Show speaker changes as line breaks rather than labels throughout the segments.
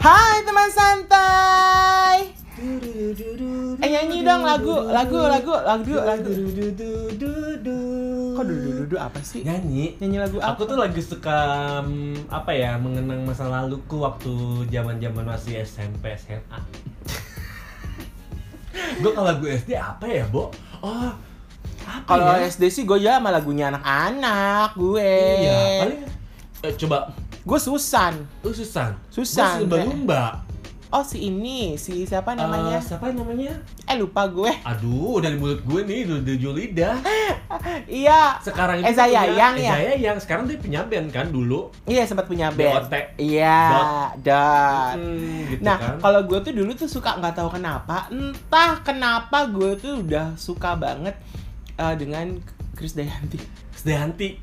Hai teman santai. Eh nyanyi dong lagu, lagu, lagu, lagu, lagu. Kok dudu dudu apa sih?
nyanyi
Nyanyi lagu apa?
aku tuh lagi suka mm, apa ya mengenang masa laluku waktu zaman zaman masih SMP SMA gue kalau lagu SD apa ya bo oh apa
Kalau
ya?
SD sih gue ya sama lagunya anak-anak gue.
iya paling eh, coba
Gue Susan.
lu Susan
Susan,
lumba lumba
Oh si ini, si siapa namanya?
siapa namanya
eh lupa gue.
aduh dari mulut gue nih udah di lidah
Iya.
sekarang itu
Eh, Eza
punya-
Yayang ya?
Eza Yayang sekarang dia punya band kan dulu
Iya sempat punya band.
DOT.
Iya, dot.
Hmm, gitu
nah,
kan.
kalau gue tuh dulu tuh suka nggak tahu kenapa, entah kenapa gue tuh udah suka banget eh, dengan Krisdayanti.
Sedayanti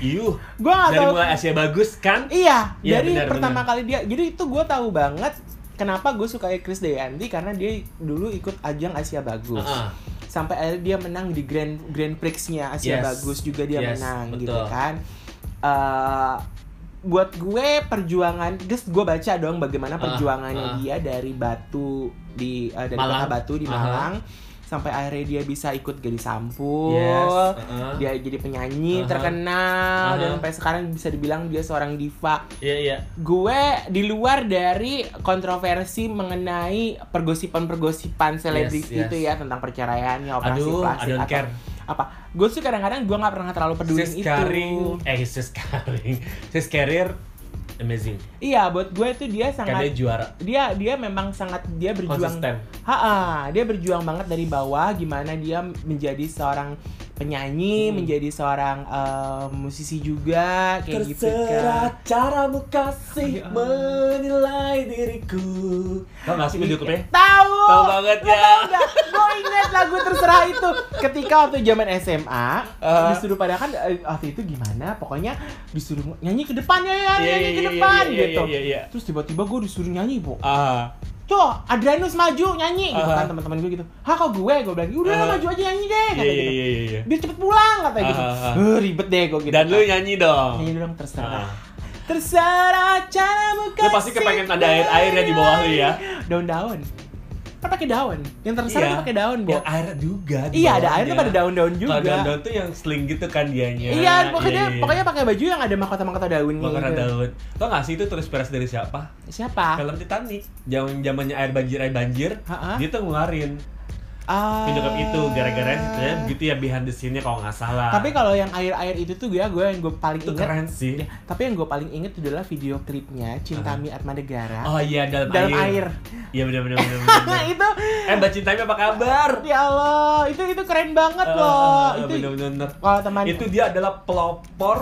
Iuh,
Gue nggak
dari
tahu.
mulai Asia bagus kan?
Iya,
Iya,
dari
benar,
pertama
benar.
kali dia. Jadi itu gue tahu banget kenapa gue suka Krisdayanti karena dia dulu ikut ajang Asia Bagus.
Heeh.
sampai akhirnya dia menang di Grand Grand Prix-nya Asia
Yes.
bagus juga dia
Yes,
menang
betul.
gitu kan. Eh, buat gue perjuangan, just gue baca dong bagaimana
Ah,
perjuangannya
ah.
dia dari Batu di eh, dari
Malang.
Kota Batu di
Ah.
Malang sampai akhirnya dia bisa ikut Gadis Sampul.
Yes, heeh.
Dia jadi penyanyi
Aha.
terkenal dan
Aha.
sampai sekarang bisa dibilang dia seorang diva.
Iya iya.
Gue di luar dari kontroversi mengenai pergosipan-pergosipan selebriti
Yes, yes.
itu ya tentang perceraiannya, operasi
Aduh, I
plastik
don't
atau
care.
apa. Gue sih kadang-kadang gue nggak pernah terlalu peduli
Sis
itu.
Karing, eh Sis Karing, Sis Karir, amazing.
Iya, buat gue itu dia
Karena dia
sangat
juara.
dia dia memang sangat dia berjuang.
Konsisten.
Ha-ha, dia berjuang banget dari bawah gimana dia menjadi seorang penyanyi,
Hmm.
menjadi seorang eh, musisi juga kayak gitu kan.
Terserah caramu kasih
Ya.
menilai diriku. Tau gak sih video klipnya?
Tahu.
Tahu banget
Lu
ya.
tahu nggak? Gue inget Iya, lagu terserah itu. Ketika waktu zaman SMA
Eh.
disuruh pada kan eh, waktu itu gimana? Pokoknya disuruh nyanyi ke depannya ya,
Iya,
nyanyi
iya,
ke
iya,
depan
iya, iya,
gitu.
iya, iya.
Terus tiba-tiba gue disuruh nyanyi, Bu.
Ah,
Tuh, Adrianus maju nyanyi gitu
Aha.
kan teman-teman gue gitu. Hah, kok gue? Gue bilang, "Udah
Aha.
maju aja nyanyi deh."
Uh-huh. iya
kata
iya
gitu.
iya iya.
Biar cepet pulang katanya gitu.
Aha.
"Eh, ribet deh gue gitu. Iya.
Dan lu ya- nyanyi dong.
nyanyi dong terserah.
Ah.
Terserah caramu
Lu pasti kepengen ada air-airnya di bawah lu ya.
daun-daun kan pakai daun yang terserah
Iya.
pakai daun bu
Yang air juga. di
iya ada airnya
bawahnya.
pada daun-daun juga
Kalau daun-daun tuh yang sling gitu kan dianya.
iya pokoknya
iya.
pokoknya pakai baju yang ada mahkota-mahkota daunnya
Bakar
gitu.
daun. Tau gak sih itu terus peras dari siapa?
siapa
Film Titanic. Zaman zamannya air banjir air banjir,
Ha-ha.
dia tuh ngeluarin
Ah.
penyekap itu gara-gara situ ya gitu ya behind the scene-nya kalau nggak salah.
tapi kalau yang air-air itu tuh gue gue yang gue paling
itu
inget
keren sih.
Ya, tapi yang gue paling inget adalah video klipnya Cinta Mi Atmanegara
Oh iya dalam,
dalam
air.
air,
Iya benar benar benar. benar.
Nah, itu
eh Mbak Cintami apa kabar?
ya Allah itu itu keren banget
Eh,
loh itu
benar benar.
kalau teman
Itu dia adalah pelopor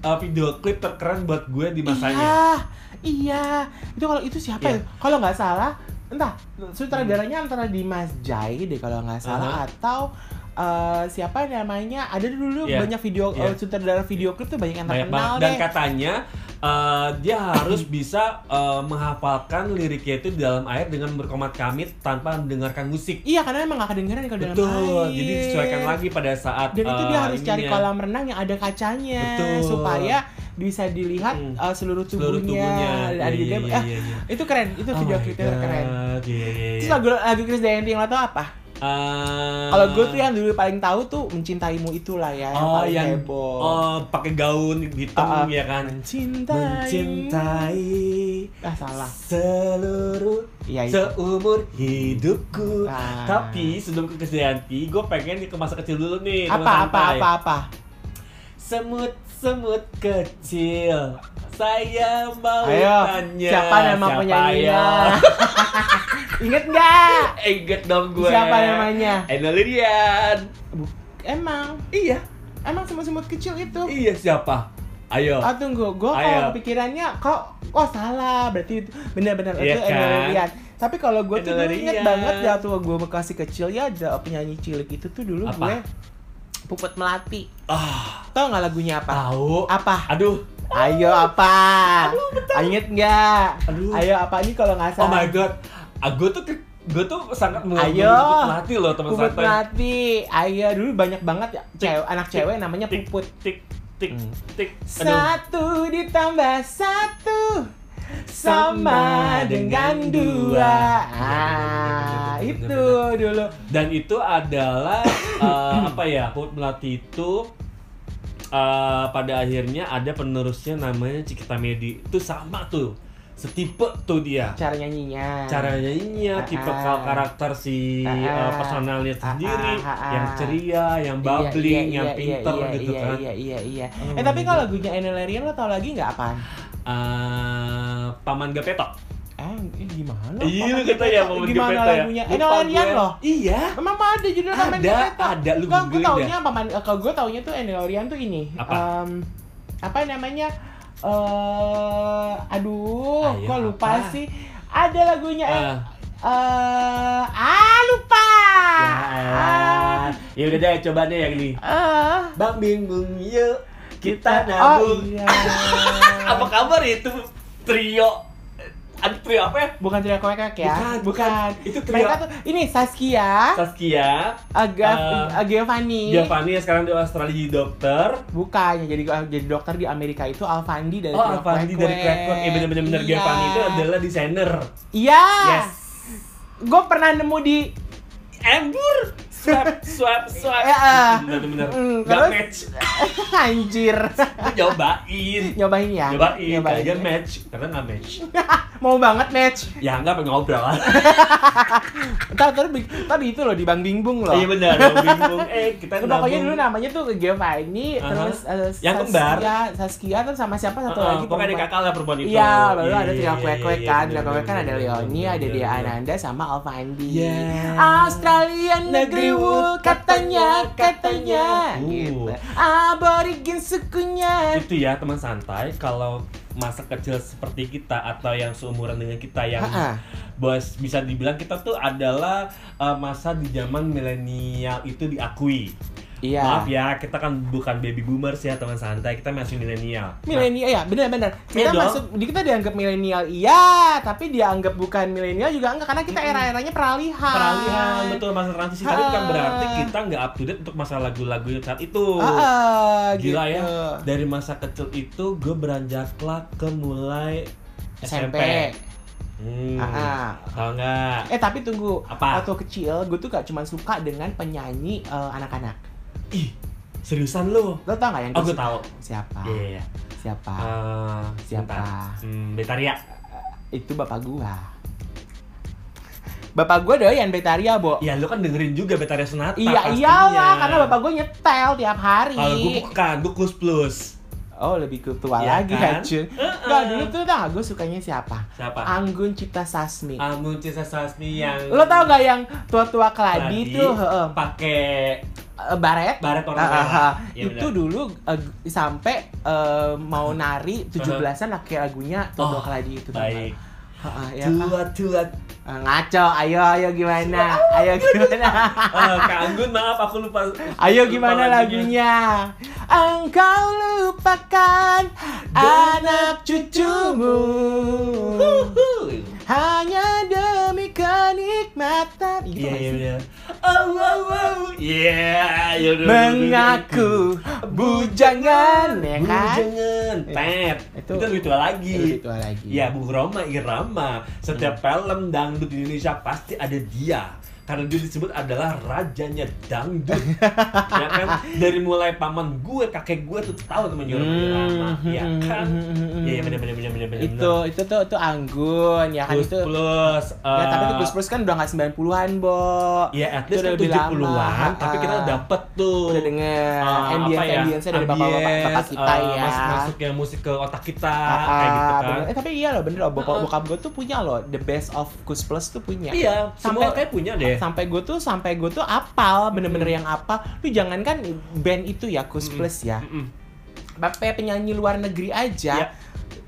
eh, video klip terkeren buat gue di masanya.
Iya, iya. Itu kalau itu siapa ya?
Iya.
Kalau nggak salah, entah sutradaranya antara Dimas Jai deh kalau nggak salah
Aha.
atau eh, siapa namanya? Ada dulu
Iya.
banyak video
Iya.
eh, sutradara video klip tuh banyak yang
Banyak
terkenal
banget. Dan kan-
deh.
katanya eh, dia harus bisa eh, menghafalkan liriknya itu di dalam air dengan berkomat kamit tanpa mendengarkan musik.
Iya, karena emang nggak kedengeran kalau dalam
Betul,
air.
jadi disesuaikan lagi pada saat
Dan itu dia
eh,
harus cari
ininya.
kolam renang yang ada kacanya
Betul.
supaya bisa dilihat
Mm.
eh, seluruh tubuhnya.
Seluruh tubuhnya.
Dan ada
Iya,
juga
iya,
eh,
iya, iya.
itu keren, itu
Oh
video
my
klipnya keren.
God, iya, iya, iya.
Terus lagu lagu Chris Dayanti yang lo tau apa?
Eh,
Kalau gue tuh yang dulu paling tahu tuh mencintaimu itulah ya yang
oh
paling
yang
heboh.
oh pakai gaun hitam
Ah, ah.
ya kan.
mencintai.
Mencintai
Ah salah.
seluruh
Iya, itu.
seumur hidupku.
Ah.
Tapi sebelum ke Kesdayanti, gue pengen ke masa kecil dulu nih. teman
iya. Apa apa
santai.
apa apa.
Semut semut kecil. Saya mau
Ayo,
tanya.
siapa nama
ya. siapa
penyanyinya?
ya?
Ingat nggak?
Eh, Ingat dong gue.
Siapa namanya?
Enel Lirian.
Bu- Emang,
Iya.
emang semut-semut kecil itu.
Iya siapa? Ayo.
Oh tunggu, gue
Ayo.
kalau pikirannya kok oh salah berarti itu benar-benar
Iya
itu
kan?
Enolerian. Tapi kalau gue tuh dulu inget
Enolerian.
banget ya waktu gue bekasi kecil ya ada penyanyi cilik itu tuh dulu
Apa?
gue Puput Melati.
Ah,
Tau nggak lagunya apa?
tahu.
Apa?
Aduh.
Ayo apa? Ingat nggak?
Aduh.
Ayo apa ini kalau nggak
Oh
salah?
my god. Ah, gue tuh gue tuh sangat
Ayo.
melatih loh teman
Puput
santai.
mati. Ayo dulu banyak banget ya cewek, anak cewek namanya
Tik
Puput.
tik tik
Hmm.
tik. Aduh.
Satu ditambah satu sama dengan dua. Ah, itu dulu.
Dan itu adalah eh, apa ya? Hood Melati itu eh, pada akhirnya ada penerusnya namanya Cikita Medi. Itu sama tuh. Setipe tuh dia.
Cara nyanyinya. Iya,
Cara nyanyinya, tipe
Ah.
karakter si
Ah.
eh, personalnya
Ah,
sendiri,
ah, ah, ah.
yang ceria, yang
Iya,
bubbling,
iya,
yang
iya,
pinter
iya,
gitu
iya,
kan.
Iya iya iya.
Oh
eh tapi
my
kalau lagunya Enelarian lo tau lagi nggak apaan?
Eh, Paman Gapetok.
Eh ini gimana?
Iya lu
Paman
kata ya
Gepetto?
Paman
Gimana
Gepetto ya.
lagunya?
Lupa
Enelarian
gue.
loh.
Iya.
Emang ada judul Paman
Ada,
Gepetto?
ada,
Nggak,
lu
gue
googling
taunya Paman, eh, kalau gue taunya tuh Enelarian tuh ini.
Apa?
Em, apa namanya? Eh, aduh,
Ayo,
gue lupa
apa?
sih. Ada lagunya. eh,
Ah.
eh, ah lupa. Ah.
Ya udah deh coba deh yang ini.
Ah.
Bang bingung yuk
Oh
kita nabung.
iya.
Apa kabar itu trio? Ada trio apa ya?
Bukan trio koekak ya?
Bukan, Itu trio
Mereka tuh ini Saskia,
Saskia,
Agaf,
Eh,
Giovanni.
Giovanni yang sekarang di Australia jadi dokter.
Bukan, jadi jadi dokter di Amerika itu Alfandi dari
Oh,
trio
Avandi
Kwek
dari
Kwek.
Crack Rock. Iya bener-bener bener
Iya.
Giovanni itu adalah desainer.
Iya.
Yes.
Gue pernah nemu di
Embur. Swap, swap, swap.
Iya, ah.
Bener-bener.
Mm,
Gak
terus?
match.
anjir.
Lu nyobain.
Nyobain ya.
Nyobain, kayaknya match. Karena gak match.
Mau banget match.
Ya enggak pengen ngobrol.
Entar tadi tadi itu loh di Bang Bingbung loh.
Iya benar, gua bingung. Eh, kita
Itu pokoknya dulu
nabung.
namanya tuh Giovanni,
Aha.
terus eh,
Yang kembar.
Saskia, Saskia terus sama siapa satu
Heeh,
lagi
pokoknya ada
perempuan.
kakak lah perempuan itu.
Iya, lalu ada tiga
iya,
kue-kue
iya,
kan.
iya,
Tiga kue kan
bener,
ada Leoni,
bener, bener,
ada
bener,
Dea
bener.
Ananda sama Alfandi.
Iya.
Australia negeri wool katanya katanya
Uh.
gitu. Aborigin sukunya.
Itu ya teman santai kalau masa kecil seperti kita atau yang seumuran dengan kita yang
Ha-ha.
bos bisa dibilang kita tuh adalah eh, masa di zaman milenial itu diakui.
Iya.
Maaf ya, kita kan bukan baby boomers ya teman santai, kita masih milenial. Nah,
Milenial ya, benar-benar. Kita
Iya dong.
masuk, di- kita dianggap milenial iya, tapi dianggap bukan milenial juga enggak karena kita era-eranya peralihan.
peralihan betul masa transisi tapi bukan
Ha.
berarti kita nggak up to date untuk masa lagu-lagu yang saat itu.
Heeh,
Gila
gitu.
ya, dari masa kecil itu gue beranjaklah ke mulai SMP.
SMP.
Hmm,
Ah,
tau nggak?
Eh tapi tunggu,
Apa?
waktu kecil gue tuh gak cuma suka dengan penyanyi eh, anak-anak.
Ih, seriusan lo?
Lo tau gak yang
Oh,
gua
gue tau.
Siapa?
Iya, iya, iya.
Siapa?
Eh,
Ah, Siapa?
bentar. Hmm, Betaria.
Itu bapak gua. Bapak gua doyan Betaria, Bo.
Ya, lo kan dengerin juga Betaria Sonata
Iya,
pastinya.
iyalah, karena bapak gua nyetel tiap hari.
Kalau gue bukan, gue Kus Plus.
Oh, lebih ke tua
Iya
lagi ya,
kan?
Jun.
Heeh.
Nggak, dulu tuh tau gak gue sukanya siapa?
Siapa?
Anggun Cipta Sasmi.
Amun Cisa Sasmi yang
Ah. Lo tau gak yang tua-tua keladi
Keladi.
tuh? heeh.
pakai
Eh, baret?
baret warna
Ah, ah,
merah.
ah.
Iya,
itu
benar.
dulu eh, sampai eh, mau nari 17-an laki lagunya Toto
Oh,
Keladi itu
Baik.
Ah, ah, ya kan?
Tua tua.
Ah, ngaco, ayo ayo gimana? Ayo gimana?
Eh, Kak Anggun maaf aku lupa.
Ayo
lupa
gimana lagunya? Engkau lupakan anak cucumu
Huhu.
hanya demi kenikmatan. Gitu
Iya
nggak
iya
sih?
iya. Oh wow wow. Iya. iya, iya,
Mengaku bujangan ya kan?
Bujangan. Tet.
Itu-
Itu lebih tua lagi.
Lebih tua lagi. Hmm.
Ya Bung Roma Irama. Setiap film dangdut di Indonesia pasti ada dia. Karena dia disebut adalah rajanya dangdut. ya kan? Dari mulai paman gue, kakek gue tuh tahu temen Roma Irama.
Hmm,
Ya
hmm,
kan?
hmm, hmm,
Iya ya,
hmm.
benar benar benar benar benar.
itu itu tuh itu anggun ya kan
plus
itu
plus.
ya tapi
eh,
itu plus plus kan udah nggak 90-an bo
Ya, at
Itu
least kan
udah lebih lama.
70-an, tapi kita
Ah.
dapet tuh.
udah denger
Ah,
ambience
apa ya?
ambience dari bapak bapak bapak
Ambience,
kita
ah,
ya
Masuk masuk yang musik ke otak kita
Ah,
kayak gitu kan.
bener. eh tapi iya loh bener loh bokap
Ah, ah.
bokap gue tuh punya loh the best of kus plus tuh punya
Iya,
Sampai-
sampai kayak punya deh. Hmm.
sampai gue tuh sampai gue tuh apal bener-bener yang apal lu jangan kan band itu ya kus plus ya
Mm-mm.
sampai penyanyi luar negeri aja
Iya.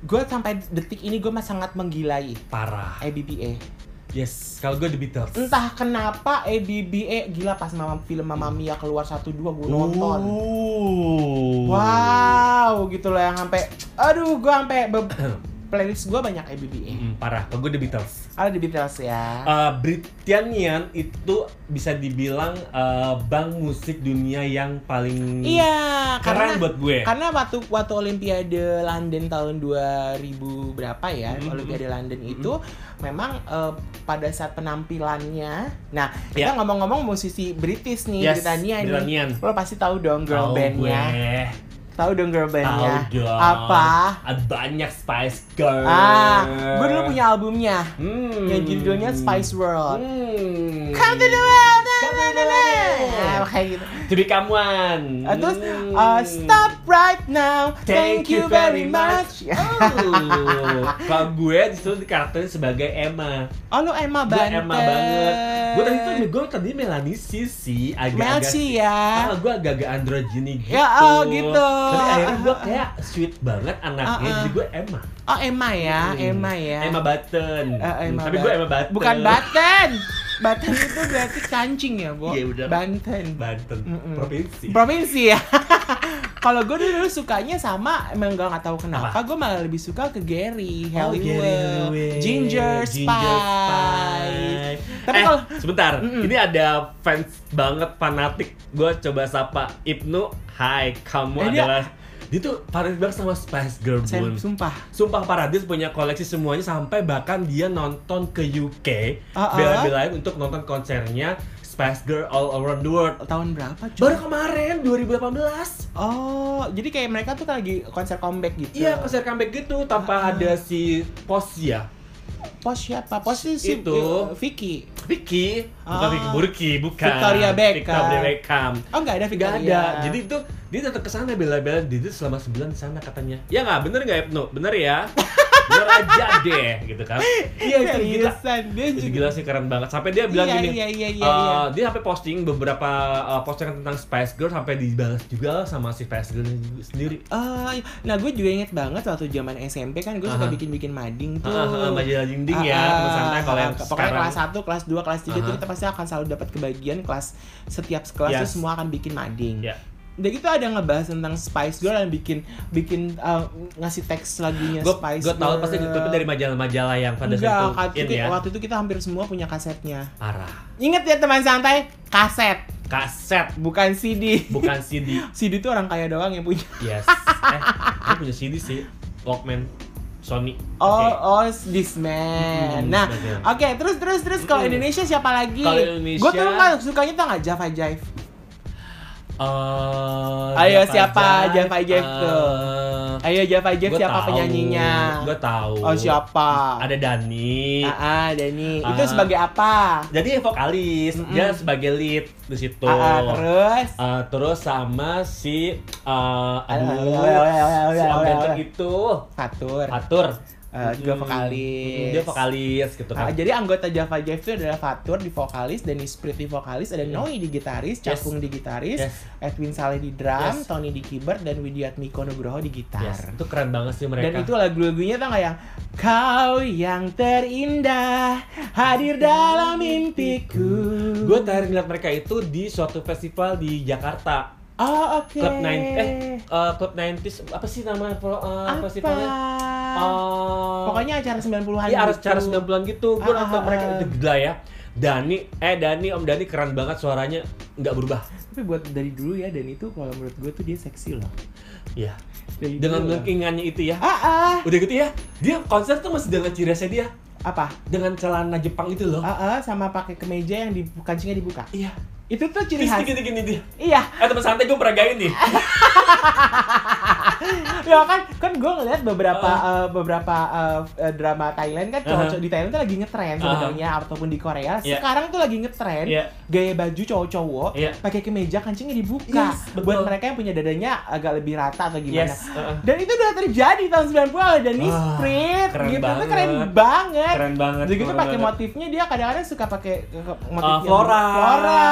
gue sampai detik ini gue masih sangat menggilai
Parah.
ABBA
Yes, kalau gue The Beatles.
E. Entah kenapa ABBA E, gila pas mama film Mama Mia keluar satu dua gue
Oh,
nonton.
Ooh.
Wow, gitu loh yang sampai aduh gue sampai be- playlist gue banyak ABBA.
Mm, parah. Kalau gue The Beatles.
Ada di Beatles ya.
Eh, Britanian itu bisa dibilang eh, bank musik dunia yang paling
Iya,
Hmm. keren
karena kan
buat gue.
karena waktu waktu Olimpiade London tahun 2000 berapa ya?
Mhm.
Olimpiade London itu memang eh, pada saat penampilannya. Nah,
Ya.
kita ngomong-ngomong musisi British nih,
Yes,
Britania nih.
Britanian.
Lo pasti tahu dong girl
Tahu
bandnya.
gue.
Tahu dong girl
Tahu
bandnya.
dong.
Apa?
Ada banyak Spice Girls.
Ah, gue
Eh.
dulu punya albumnya.
Hmm.
Yang judulnya Spice World.
Hmm.
Come to the world, na,
Come to
na,
the
na, na.
world.
Nah, kayak gitu.
To become one.
Ah, Terus
Hmm.
uh, stop right now, thank, you very much.
Oh, kalau gue disitu dikarakterin sebagai Emma.
Oh lu Emma
Gue
banget.
Emma banget. Gue tadi tuh gue tadi Melanesia sih, agak-agak.
Melsi ya.
Ah, gue agak-agak androgini gitu.
Ya, oh, gitu.
Tapi akhirnya gue kayak sweet banget anaknya,
Ah, ah.
jadi gue Emma.
Oh Emma ya,
Hmm.
Emma ya.
Emma Button.
Eh, Emma
Tapi gue
Bat-
Emma Button.
Bukan Banten. Banten itu berarti kancing ya, Bu.
Iya, udah.
Banten.
Banten.
Mm-mm.
Provinsi.
Provinsi ya. Kalau gue dulu sukanya sama, emang gue nggak tahu kenapa, gue malah lebih suka ke Gary,
Oh,
Halliwell,
Gary Halliwell.
Ginger, Spice. Tapi
eh,
kalau-
sebentar,
Mm-mm.
ini ada fans banget fanatik. Gue coba sapa Ibnu. Hai, kamu
Eh, dia-
adalah dia tuh fanatik banget sama Spice Girl
Saya
Bun.
sumpah.
Sumpah Paradis punya koleksi semuanya sampai bahkan dia nonton ke UK
Ah, ah.
bela-belain untuk nonton konsernya Spice Girl All Around the World.
Tahun berapa, cuy?
Baru kemarin 2018.
Oh, jadi kayak mereka tuh kan lagi konser comeback gitu.
Iya, konser comeback gitu tanpa ada si Pos ya.
Pos siapa? Pos si si-
Itu.
eh, Vicky.
Vicky, bukan
Ah.
Vicky Burki, bukan.
Victoria Beckham.
Victoria Beckham.
Oh, nggak ada Vicky.
Gak ada. Jadi itu dia datang ke sana bela-bela dia tuh selama sebulan di sana katanya. Ya nggak, bener nggak Ibnu? Bener ya? bener aja deh, gitu kan? Iya itu gila.
Seriusan, dia
Itu
juga.
gila sih keren banget. Sampai dia bilang
Iya,
gini.
iya, iya, iya,
eh,
iya.
Dia sampai posting beberapa eh, postingan tentang Spice Girl sampai dibalas juga sama si Spice Girl sendiri.
Ah, nah gue juga inget banget waktu zaman SMP kan gue suka
Aha.
bikin-bikin mading tuh.
Ah, ah, ah, majalah dinding ya,
Ah, ah,
teman santai kalau yang
pokoknya
sekarang.
kelas 1, kelas 2, kelas 3 tuh
Aha.
kita pasti akan selalu dapat kebagian kelas setiap kelas tuh
Yes.
semua akan bikin mading.
Ya.
Udah gitu ada yang ngebahas tentang Spice Girl dan bikin bikin ah, ngasih teks lagunya
Gue
Iya, Spice
gue tahu pasti
Girl.
tapi dari majalah-majalah yang pada
Enggak,
saat
waktu
itu
itu,
in ya.
waktu itu kita hampir semua punya kasetnya.
Arah.
Ingat ya teman santai, kaset
Kaset
bukan CD.
bukan CD.
CD itu orang kaya doang yang punya.
Yes. Eh, gue punya CD sih. Walkman Sony.
Oh, oh,
Oke.
this man.
Hmm,
Nah,
betul.
oke, terus terus terus kalau
Hmm.
Indonesia siapa lagi?
Kalau Indonesia-
Gue tuh kan sukanya tuh nggak Java Jive.
Eh,
Ayo,
Java
siapa
Jive,
Java Jive
eh,
tuh? Ayo Java Jive
gua
siapa
tahu,
penyanyinya?
Gua tahu.
Oh, siapa?
Ada Dani.
Ah, ah, Dani. Itu
Ah.
sebagai apa?
Jadi vokalis,
Mm-mm.
dia sebagai lead di situ.
Ah, ah, terus
Eh, terus sama si eh aduh,
Alah, alah, alah, alah,
si
alah,
Om Benteng
alah.
itu
Fatur.
Atur.
Eh, juga
Mm,
vokalis.
mm, Dia vokalis gitu
Ah,
kan.
jadi anggota Java Jive itu adalah Fatur di vokalis, Denny Sprit di vokalis, ada Noi di gitaris,
Hmm. Yes.
Cakung di gitaris,
Yes.
Edwin Saleh di drum,
Yes.
Tony di keyboard, dan Widiatmiko Nugroho di gitar.
Yes, itu keren banget sih mereka.
Dan itu lagu-lagunya tau nggak yang Kau yang terindah hadir dalam mimpiku
Gue terakhir ngeliat mereka itu di suatu festival di Jakarta.
Oh oke
Club 90 eh eh, Club 90s apa sih nama eh,
Apa?
festivalnya? Eh,
Pokoknya acara 90-an
Iya, harus
gitu.
cara 90-an gitu. Gue
Ah,
nonton
ah,
mereka
ah.
itu gila ya. Dani, eh Dani, Om Dani keren banget suaranya, nggak berubah.
Tapi buat dari dulu ya dan itu kalau menurut gue tuh dia seksi loh
Iya.
Dari
Dengan
dulu loh.
lenkingannya itu ya.
Ah ah
Udah gitu ya, dia konser tuh masih dengan ciri khasnya dia,
Apa?
dengan celana Jepang itu loh.
Ah ah sama pakai kemeja yang di kancingnya dibuka
Iya.
Itu tuh ciri
Terus
khas
gini-gini dia.
Iya
Eh teman santai gue peragain nih.
ya kan kan gue ngeliat beberapa eh, beberapa eh, eh, drama Thailand kan cowok di Thailand tuh lagi ngetren sebenarnya ataupun di Korea
Iya.
sekarang tuh lagi ngetren
Iya.
gaya baju cowok-cowok
Iya.
pakai kemeja kancingnya dibuka
Yes, betul.
buat mereka yang punya dadanya agak lebih rata atau gimana
Yes, uh-uh.
dan itu udah terjadi tahun 90 ada Dani
Wah,
Sprit
keren
gitu tuh
banget.
keren banget
Keren banget.
Jadi gitu
keren
pakai
banget.
motifnya dia kadang-kadang suka pakai eh, motif
Uh,
yang-
flora,
flora.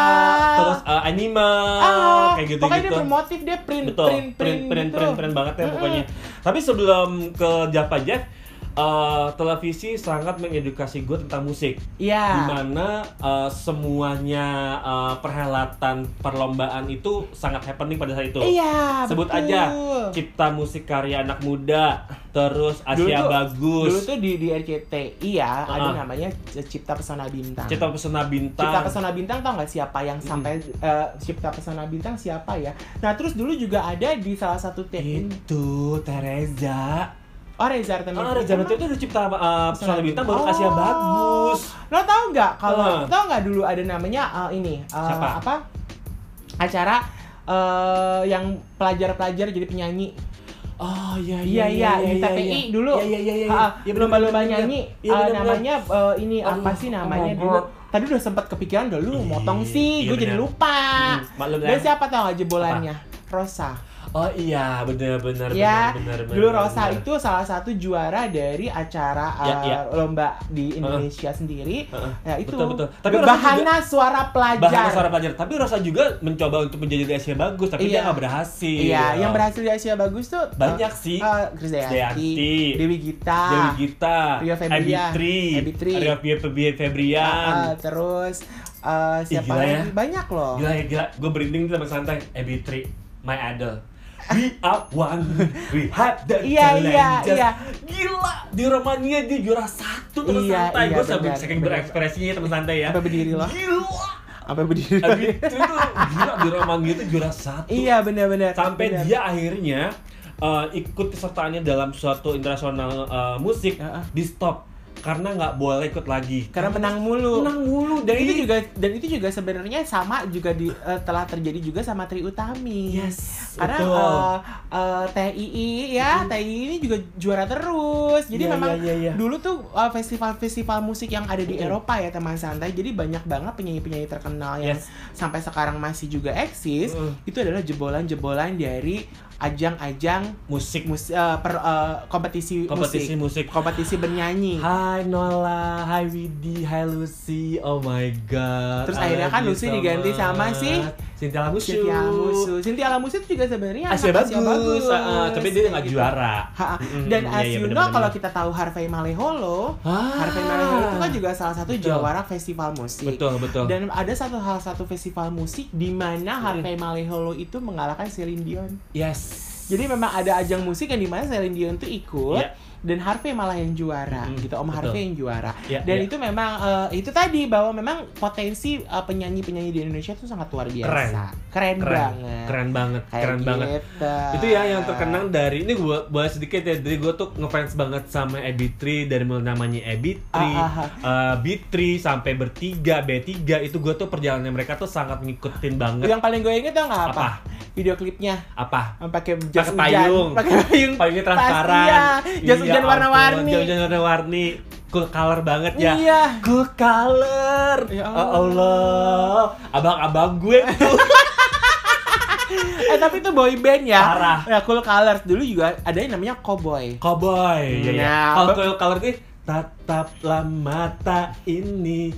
terus uh, animal,
Ah,
kayak gitu
pokoknya
gitu.
dia bermotif dia print
Betul,
print print
print,
gitu.
print, print banget ya
Mm-mm.
pokoknya. Tapi sebelum ke Java Jeff, uh, televisi sangat mengedukasi gue tentang musik.
Iya.
Dimana uh, semuanya uh, perhelatan perlombaan itu sangat happening pada saat itu.
Iya,
Sebut
betul.
aja cipta musik karya anak muda, terus
Dulu
Asia
tuh-
Bagus,
Dulu tuh di, di RCTI ya, ada
Ah.
namanya Cipta Pesona Bintang.
Cipta Pesona Bintang.
Cipta Pesona Bintang tau nggak siapa yang sampai eh, Cipta Pesona Bintang siapa ya? Nah terus dulu juga ada di salah satu tim
Itu Tereza.
Oh Reza Artamevia.
Ah, Reza Artamevia itu udah cipta uh, Pesona Bintang baru Asia
Oh.
Bagus.
Lo tau nggak kalau
Ah.
tau nggak dulu ada namanya eh, ini eh,
Siapa?
apa acara eh, yang pelajar-pelajar jadi penyanyi.
Oh iya
Iya iya di TPI dulu.
Iya iya iya. iya.
Ah,
Iya, bener,
lomba-lomba
bener,
nyanyi
bener. Iya,
eh,
bener, bener.
namanya eh, ini apa
Allah,
sih namanya
Allah.
dulu? Tadi udah sempat kepikiran udah lu
Iya,
motong sih,
iya,
gue jadi
benar.
lupa.
Hmm, maklum
Dan
lah.
siapa tau aja bolannya? Rosa.
Oh iya bener bener
ya,
bener, bener,
dulu
bener,
Rosa
bener.
itu salah satu juara dari acara
Ya,
eh,
ya.
lomba di Indonesia sendiri.
Heeh.
Ya itu.
Betul, betul. Tapi Rosa
bahana suara pelajar.
Bahasa suara pelajar, tapi Rosa juga mencoba untuk menjadi Asia bagus, tapi
Iya.
dia nggak berhasil.
Iya, yang berhasil di Asia bagus tuh
Banyak
eh,
sih.
eh, Krisdayanti,
Krisdayanti,
Dewi Gita,
Dewi Gita,
Rio Febrian,
Ebitri,
Ebitri.
Rio Fe- Fe-
eh, eh,
Febrian.
terus eh, siapa
gila ya.
lagi? Banyak loh.
Gila ya gila, gue berinding sama santai. Ebitri, my idol. We are one, we have the
Iya, iya,
challenges.
iya.
Gila, di Romania dia juara satu teman
Iya,
santai.
iya,
gue sambil
benar,
saking
benar.
berekspresinya teman santai ya.
Sampai berdiri loh.
Gila,
Apa berdiri?
Ebitri tuh gila di Romania itu juara satu.
iya, benar-benar.
sampai
Benar.
dia akhirnya uh, ikut kesertaannya dalam suatu internasional uh, musik
Heeh.
di stop karena nggak boleh ikut lagi Iya.
karena menang mulu.
menang mulu
Dan
dari
itu juga dan itu juga sebenarnya sama juga di eh, telah terjadi juga sama Tri Utami.
yes
Karena
betul.
eh, eh, TII ya, TII ini juga juara terus. Jadi
Iya,
memang
iya, iya, iya.
dulu tuh eh, festival-festival musik yang ada di
Mm.
Eropa ya teman santai. Jadi banyak banget penyanyi-penyanyi terkenal yang
Yes.
sampai sekarang masih juga eksis.
Mm.
Itu adalah jebolan-jebolan dari ajang-ajang
musik
mus- eh, per- eh, kompetisi,
kompetisi
musik,
musik,
kompetisi bernyanyi.
Hai Nola, Hai Widi, Hai Lucy, oh my god.
Terus
I
akhirnya
love
kan
you
Lucy
so
diganti
much.
sama si
Cynthia Lamusu.
Cynthia Lamusu. Cynthia Lamusu itu juga sebenarnya
Asia
anak
bagus, ah, tapi dia nggak
Kayak gitu.
juara.
Ha-ha.
Mm-mm,
Dan
iya,
as
iya,
you
bener-bener.
know, kalau kita tahu Harvey Maleholo,
Ah.
Harvey Maleholo itu kan juga salah satu
Betul.
jawara festival musik.
Betul, betul.
Dan ada satu hal satu festival musik di mana
Iya.
Harvey Maleholo itu mengalahkan Celine Dion.
yes.
Jadi memang ada ajang musik yang dimana Celine Dion tuh ikut
Iya.
dan Harvey malah yang juara
Mm-mm,
gitu. Om
betul.
Harvey yang juara.
Iya,
dan
iya.
itu memang eh, itu tadi bahwa memang potensi eh, penyanyi-penyanyi di Indonesia tuh sangat luar biasa. Keren,
keren,
banget.
keren banget,
Kayak
keren banget.
gitu.
itu ya yang terkenang dari ini gue bahas sedikit ya dari gue tuh ngefans banget sama Ebitri dari mulai namanya Ebitri,
Ah, ah,
eh, Bitri sampai bertiga B3 itu gue tuh perjalanan mereka tuh sangat ngikutin banget
Yang paling gue inget tau nggak Iya, apa?
Apa?
Video klipnya
apa
yang pakai jas
Pakai
hujan,
payung.
pakai payung,
payungnya
Tas,
transparan,
iya. jas
Iya,
hujan
ampun,
warna-warni.
jas hujan warna-warni, cool color banget ya.
Iya.
Cool color,
Ya
ya
Allah.
Allah, abang-abang gue tuh
Eh tapi itu boy band ya.
Parah.
Ya, cool colors dulu juga ada yang namanya cowboy.
Cowboy. Iya, iya.
Nah,
Kalau
apa-
cool color nih tataplah mata ini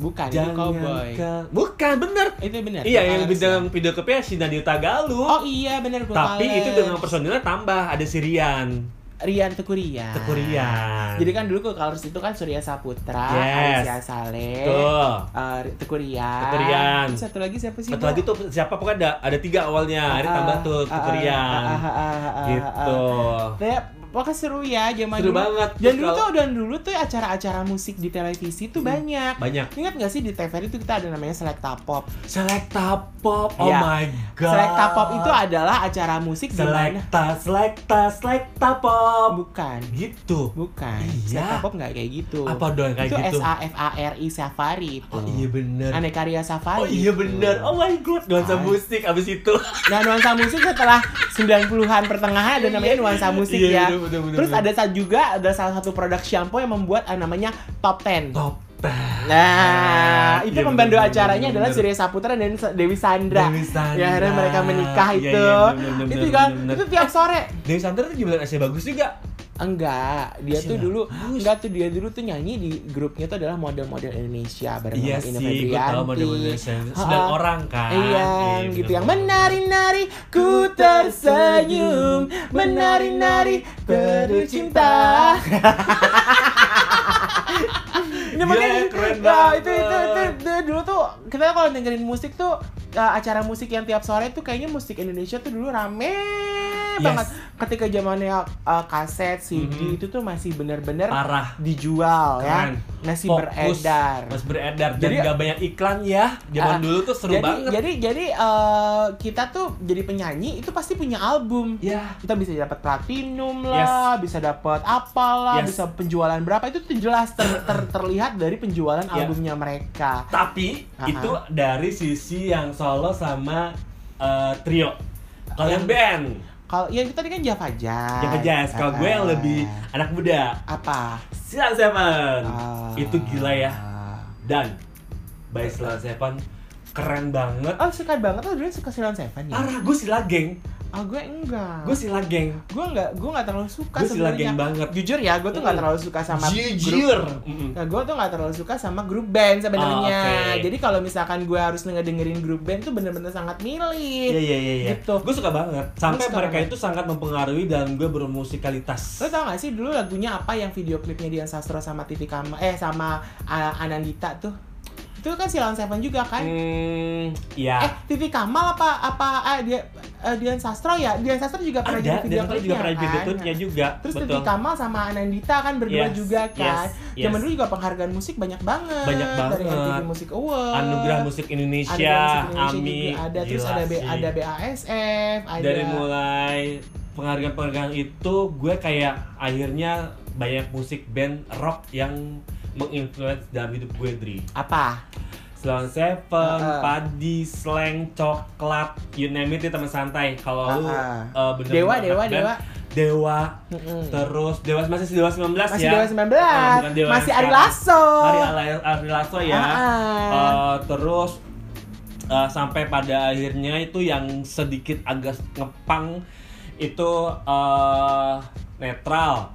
Bukan itu
jangan
cowboy.
kau- bukan bener
Itu benar.
Iya,
cool
yang
colors
lebih
ya.
dalam video klipnya si Nadia Tagalu.
Oh iya benar cool
Tapi
colors.
itu dengan personilnya tambah, ada Sirian,
Rian Tekurian.
Tekurian.
Ah. Jadi kan dulu cool colors itu kan Surya Saputra,
Yes.
Alicia Saleh,
Tuh.
eh, Tekurian.
Teku Rian.
Terus Satu lagi siapa sih?
Satu
Bu?
lagi tuh siapa pokoknya ada ada tiga awalnya, ada
Ah,
tambah tuh
ah,
Tekurian.
ah, ah, ah, ah, ah,
Gitu.
Kayak pokoknya seru ya zaman
Seru
dulu.
banget.
Dan
Terus
dulu
kalau- Hmm.
tuh dan dulu tuh acara-acara musik di televisi tuh banyak.
Banyak.
Ingat gak sih di TVRI itu kita ada namanya Selecta Pop.
Selekta pop. Oh
Iya.
my god.
Selecta Pop itu adalah acara musik di mana
selekta, selekta, selekta pop.
bukan
Gitu.
bukan
Iya.
Selecta Pop nggak kayak gitu.
Apa dong
itu
kayak gitu?
S A F A R I Safari itu.
Oh iya bener.
Aneka Ria Safari.
Oh iya
itu.
bener. Oh my god,
Ah.
nuansa musik abis itu.
Nah, nuansa musik setelah 90-an pertengahan ada namanya nuansa musik ya.
Iya, bener, bener, bener,
Terus
bener.
ada sa- juga ada salah satu produk shampoo yang membuat ah, namanya Top Ten.
Top
Nah, itu
Iya,
pembantu
bener,
acaranya
bener,
adalah
bener.
Surya Saputra dan Sa- Dewi Sandra.
Dewi Sandra.
Ya, akhirnya mereka menikah
Iya,
itu.
iya, bener,
itu
bener, bener,
juga
bener, bener.
itu tiap sore.
Dewi Sandra tuh gimana sih bagus juga.
Enggak, dia
Masih
tuh dulu
bagus.
enggak tuh dia dulu tuh nyanyi di grupnya tuh adalah model-model Indonesia bareng
Iya
sama Ina
sih, gue tau
Febrianti.
model-model Sandra.
Ha-ha.
Sembilan orang kan.
Iya,
bener
gitu yang
banget.
menari-nari ku tersenyum, menari-nari terus cinta. Ini
Gila,
makanya
keren
Nah,
banget.
ya, itu, itu, itu, itu dulu tuh kita kalau dengerin musik tuh eh, acara musik yang tiap sore tuh kayaknya musik Indonesia tuh dulu rame banget. Ketika zamannya eh, kaset, CD
Mhm.
itu tuh masih bener-bener
Parah.
dijual
Ah. Keren.
ya, masih
Fokus,
beredar.
Mas beredar dan
Jadi-
nggak banyak iklan ya. Zaman
Ah,
dulu tuh seru
jadi,
banget.
jadi jadi eh, kita tuh jadi penyanyi itu pasti punya album.
ya.
Kita bisa dapat platinum lah, bisa dapat apalah,
Yes.
bisa penjualan berapa itu tuh jelas ter- ter- terlihat dari penjualan
Ya.
albumnya mereka.
Tapi
Ah,
itu dari sisi yang solo sama eh, trio. Kalau
Iya.
yang band,
Kalau yang tadi kan Java Jazz. Ah.
yang jazz. Kalau gue yang lebih anak muda,
apa?
Silent Seven.
Ah.
Itu gila ya. Dan by Silent Seven keren banget.
Oh suka banget lo dulu suka Silent Seven ya?
Parah gue sila geng,
Ah gue enggak.
gue sila geng.
gue enggak gue enggak terlalu suka
Gue sila
sebenarnya.
geng banget.
Jujur ya, gue tuh enggak
Mm.
terlalu suka sama
Jujur. Mm-mm.
Nah, gue tuh nggak terlalu suka sama grup band sebenarnya.
Ah, oke.
Jadi kalau misalkan gue harus ngedengerin grup band tuh bener-bener sangat
Iya
milih.
iya iya. iya.
Gitu.
Gue suka banget.
Gua
Sampai
suka
mereka
banget.
itu sangat mempengaruhi dalam gue bermusikalitas.
Lo tau kan? gak sih dulu lagunya apa yang video klipnya Dian Sastro sama Titi Kama eh sama uh, Anandita tuh? Itu kan Silent Seven juga kan? Eh,
Hmm, ya.
Titi Kamal apa apa ah, dia eh, Dian Sastro ya? Dian Sastro juga pernah
ada
jadi
dan
video
mereka juga
klipnya
pernah jadi
kan?
tutupnya juga.
Terus
betul.
Titi Kamal sama Anandita kan berdua
Yes,
juga kan?
yes, yes.
Zaman dulu juga penghargaan musik banyak banget.
Banyak
Dari MTV
banget.
Music Awards.
Anugerah Musik Indonesia,
Ada musik
AMI,
Indonesia juga ada terus
gila
ada B,
sih.
ada BASF, ada
Dari mulai penghargaan-penghargaan itu gue kayak akhirnya banyak musik band rock yang menginfluence dalam hidup gue Dri.
apa?
Slang Seven,
Uh-uh.
Padi, Slang, Coklat, you name it teman santai. Kalau lu
Uh-uh.
uh, bener
Dewa,
anak
Dewa,
band,
Dewa.
Dewa,
Mm-mm.
terus Dewa masih Dewa 19
Masih
ya.
Dewa 19,
Ah, bukan Dewa
masih
yang
Ari
sekarang.
Lasso.
Ari, Ala- Ari Lasso ya.
Ah.
Eh, terus eh, sampai pada akhirnya itu yang sedikit agak ngepang itu eh, netral.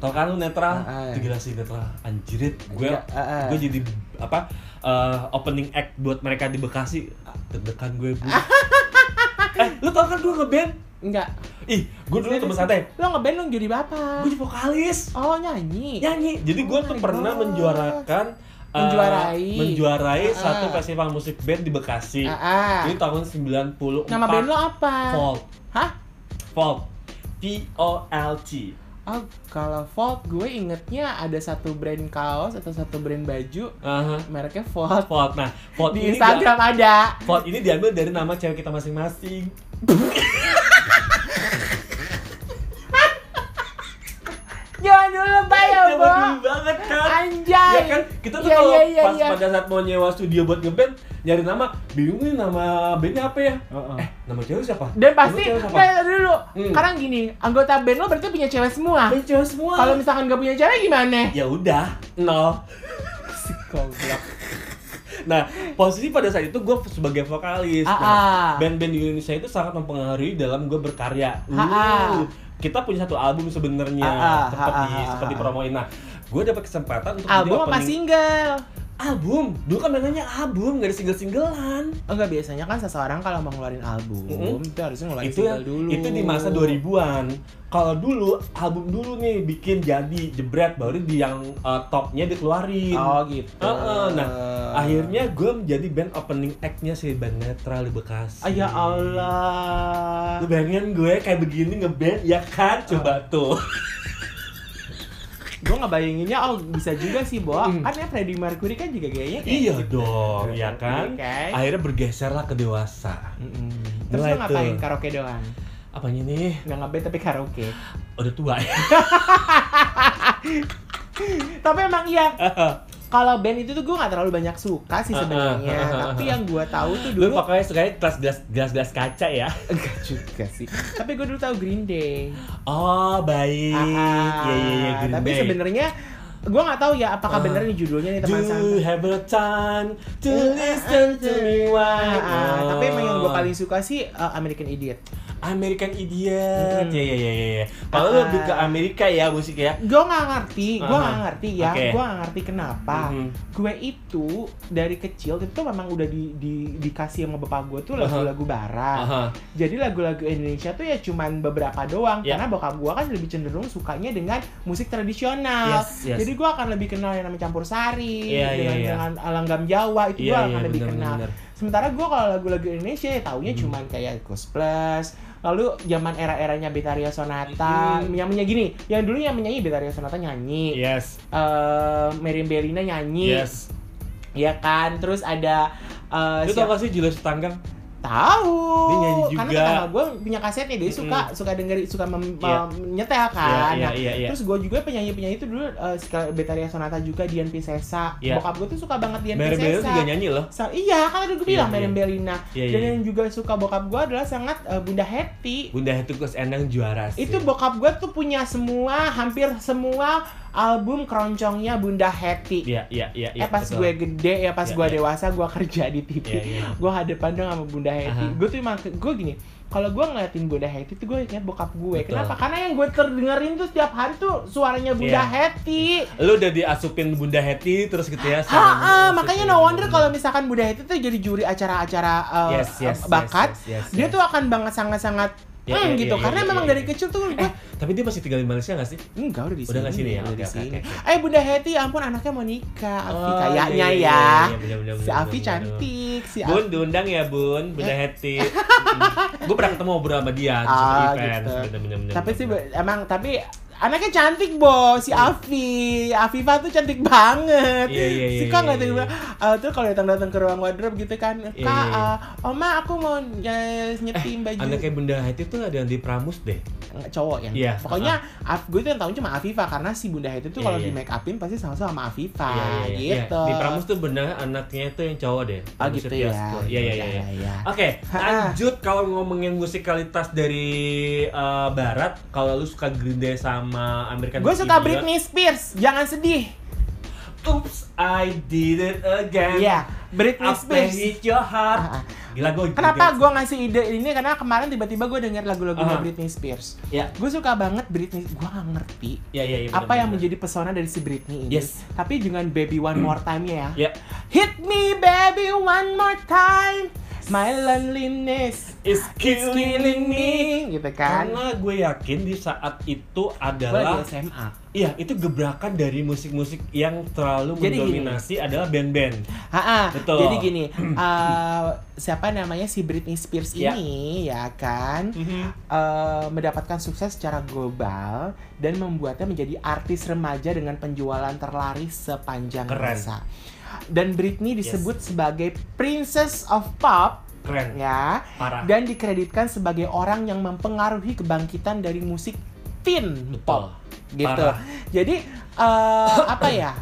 Tau kan lu netral?
Ah, ah.
Itu gila sih netral. Anjirit. Gue
Iya, ah, ah.
gue jadi apa eh, opening act buat mereka di Bekasi. Ah, Deg-degan gue bu. eh, lu tau kan gue ngeband?
Enggak.
Ih, gue dulu temen santai.
Lo ngeband lo jadi bapak.
Gue Ya. jadi vokalis
Oh nyanyi.
nyanyi. Jadi gue
Oh
tuh
my
pernah
God.
menjuarakan eh,
Menjuarai.
menjuarai
Ah.
satu festival musik band di Bekasi.
Ah, ah.
Ini tahun 94.
Nama band lo apa?
Volt.
Hah?
Volt. V O L T.
Oh, kalau Volt gue ingetnya ada satu brand kaos atau satu brand baju
Aha.
mereknya Volt.
Uh-huh. Volt. Nah, Volt
Di
ini dia-
Instagram ada.
Volt ini diambil dari nama cewek kita masing-masing.
Jangan dulu Pak ya,
Zaman
Bo.
Eh,
Ah,
dulu banget kan.
Anjay.
Ya kan, kita tuh
Iya,
kalau
iya, iya,
pas
iya.
pada saat mau nyewa studio buat ngeband, nyari nama, bingung nih nama bandnya apa ya? Eh, nama cewek siapa?
Dan
Nama
pasti,
cewek siapa?
kayak dulu,
Hmm.
sekarang gini, anggota band lo berarti punya cewek semua.
Band cewek semua.
Kalau misalkan gak punya cewek gimana?
ya udah nol
Goblok.
nah posisi pada saat itu gue sebagai vokalis
Ah,
Nah,
ah.
band-band di Indonesia itu sangat mempengaruhi dalam gue berkarya
Ah, ah.
Uh, kita punya satu album sebenarnya
Ah, ah,
seperti
ah, ah, ah.
seperti promoin nah gue dapat kesempatan untuk jadi
Album apa
opening-
single?
album dulu kan namanya album gak ada single singlean
Enggak biasanya kan seseorang kalau mau ngeluarin album
Mm-mm.
itu harusnya ngeluarin
itu
single dulu.
itu di masa 2000-an kalau dulu album dulu nih bikin jadi jebret baru di yang uh, topnya dikeluarin
Oh gitu.
Heeh, nah, akhirnya gue menjadi band opening act-nya si band netral di Bekasi.
Ah, ya Allah.
Lu bayangin gue kayak begini ngeband ya kan?
Ah.
Coba tuh.
Gue nggak bayanginnya oh bisa juga sih, Bo.
Mm.
Kan ya Freddie Mercury kan juga gayanya kayak
iya
gitu.
dong, ya kan?
Oke.
Akhirnya bergeserlah ke dewasa.
Mm-mm. Terus
Mulai
lo ngapain
tuh.
karaoke doang?
Apanya nih?
Nggak ngapain tapi karaoke.
Udah tua ya.
Tapi emang iya, kalau band itu tuh gue nggak terlalu banyak suka sih
Ah, ah, ah, ah,
sebenarnya. Tapi yang gue tahu tuh
Lu
dulu
pokoknya sukanya gelas-gelas gelas-gelas kaca ya.
enggak juga sih. Tapi gue dulu tahu Green Day.
Oh, baik.
Ah, ah.
Iya iya iya Green
Tapi
Day.
sebenarnya gue nggak tahu ya apakah
Ah.
bener nih judulnya nih
Do
teman santai.
have a time to listen to
Ah,
me why
ah. Tapi emang yang gue
Oh.
paling suka sih uh, American Idiot.
American Idiot.
Mm-mm.
Ya ya ya ya, ya. Kalau lu
Ah.
lebih ke Amerika ya musik ya.
Gue nggak ngerti, gue
Aha.
nggak ngerti ya,
Oke.
gue nggak ngerti kenapa.
Mhm.
Gue itu dari kecil itu memang udah di, di- dikasih sama bapak gue tuh
Aha.
lagu-lagu barat.
Aha.
Jadi lagu-lagu Indonesia tuh ya cuman beberapa doang
Ya.
karena bokap gua kan lebih cenderung sukanya dengan musik tradisional.
Yes, yes.
Jadi gua akan lebih kenal yang namanya campur sari
Iya, iya,
dengan
iya.
dengan langgam Jawa itu gua
Iya, iya,
akan lebih
benar,
kenal.
benar, benar.
sementara gue kalau lagu-lagu Indonesia ya taunya
Hmm.
cuman kayak Ghost Plus lalu zaman era-eranya Betaria Sonata
Hmm.
yang menyanyi gini yang dulu yang menyanyi Betaria Sonata nyanyi
Yes.
eh Meriam Bellina nyanyi
Yes.
ya kan terus ada eh,
Lu tau
siapa
gak sih Julius Tanggang?
tahu
Dia nyanyi
karena
juga.
tetangga gue punya kasetnya dia suka suka dengerin suka mem-
Iya.
mem- nyetel kan
Iya,
Nah,
iya, iya.
terus gue juga penyanyi penyanyi itu dulu eh, suka Betaria Sonata juga Dian Piscesa
Iya.
bokap gue tuh suka banget Dian
Mary Bell juga
Piscesa
nyanyi loh.
Sa- iya kan udah gue bilang
Iya,
Meriam
iya.
Bellina
Iya,
dan
iya,
yang juga suka bokap gue adalah sangat eh, Bunda Hetty
Bunda Hetukus Endang juara sih.
itu bokap gue tuh punya semua hampir semua album keroncongnya Bunda Hetty
Iya, iya, iya, iya.
eh pas
betul.
gue gede ya pas
Iya,
gue
iya.
dewasa gue kerja di TV
Iya, iya.
gue hadapan dong sama bunda Hetty
Aha.
gue tuh emang gue gini kalau gue ngeliatin bunda Hetty tuh gue ingat bokap gue
Betul.
kenapa karena yang gue terdengerin tuh setiap hari tuh suaranya bunda
Iya.
Hetty
Lu udah diasupin Bunda Heti terus gitu ya. sama
Ha,
Bunda Heti.
Ah, makanya no wonder kalau misalkan Bunda Hetty tuh jadi juri acara-acara uh,
Yes, yes, yes,
bakat,
yes, yes,
dia
yes.
tuh akan banget sangat-sangat
Iya,
hmm,
iya,
gitu.
iya,
Karena
iya,
memang
iya,
dari
iya.
kecil tuh gue
Eh, tapi dia masih tinggal di Malaysia gak sih?
Enggak udah di sini.
Udah nggak sini ya?
udah di
Oke, oke,
sini.
oke,
Eh Bunda Heti, ampun anaknya mau nikah. Afi
Oh,
kayaknya
iya, iya,
ya.
iya, iya, bener, bener,
Si
bener,
Afi
bener,
cantik, si Afi.
Bun diundang ya
Eh?
Bun, Bunda Heti. gue pernah ketemu ngobrol sama dia di suatu
Ah,
event.
gitu.
Bener, bener, bener,
Tapi
bener,
sih
bener.
emang tapi anaknya cantik bos si Afi Afifa tuh cantik banget
Iya, iya, iya,
si kak nggak
iya,
tahu
iya.
Eh, terus kalau datang datang ke ruang wardrobe gitu kan kak
Iya, iya, iya.
eh, oma aku mau eh, nyetim baju
Anaknya Bunda Heti tuh ada yang di Pramus deh.
Nggak, cowok ya
Iya,
pokoknya Af- gue tuh yang tahu cuma Afifa karena si bunda itu tuh
Iya,
kalau
iya.
di make upin pasti sama-sama sama Afifa
Iya, iya, iya. Iya,
gitu
Di Pramus tuh benar anaknya tuh yang cowok deh.
oh
Pramus
gitu ya
Setiasko. Iya, iya, iya. iya.
iya.
Oke,
Ha-ha.
lanjut kalau ngomongin musikalitas dari eh, barat, kalau lu suka Green Day sama American
gue suka
Kan Idiot,
Britney Spears jangan sedih
Oops, I did it again.
Iya, Britney
Kan I
Spears
hit your heart.
Ah, ah.
Gila gue
Kenapa gue ngasih ide ini? Karena kemarin tiba-tiba gue denger lagu-lagunya
Aha.
Britney Spears.
Ya,
Gue suka banget Britney. Gue gak ngerti
ya, ya, ya
apa yang menjadi pesona dari si Britney ini.
Yes.
Tapi dengan Baby One More Time ya.
Ya,
Hit me baby one more time. My loneliness
it's
is killing me. Gitu kan.
Karena gue yakin di saat itu
Gue lagi
adalah
SMA.
Iya, itu gebrakan dari musik-musik yang terlalu
Jadi gini.
mendominasi adalah band-band.
Ha-ha.
Betul.
Jadi gini, eh, siapa namanya si Britney Spears
Ya.
ini ya kan? eh, mendapatkan sukses secara global dan membuatnya menjadi artis remaja dengan penjualan terlaris sepanjang
Keren.
masa. Dan Britney
Yes.
disebut sebagai Princess of Pop
Keren,
ya
parah.
dan dikreditkan sebagai orang yang mempengaruhi kebangkitan dari musik teen
Betul.
pop gitu.
Parah.
Jadi eh, apa ya?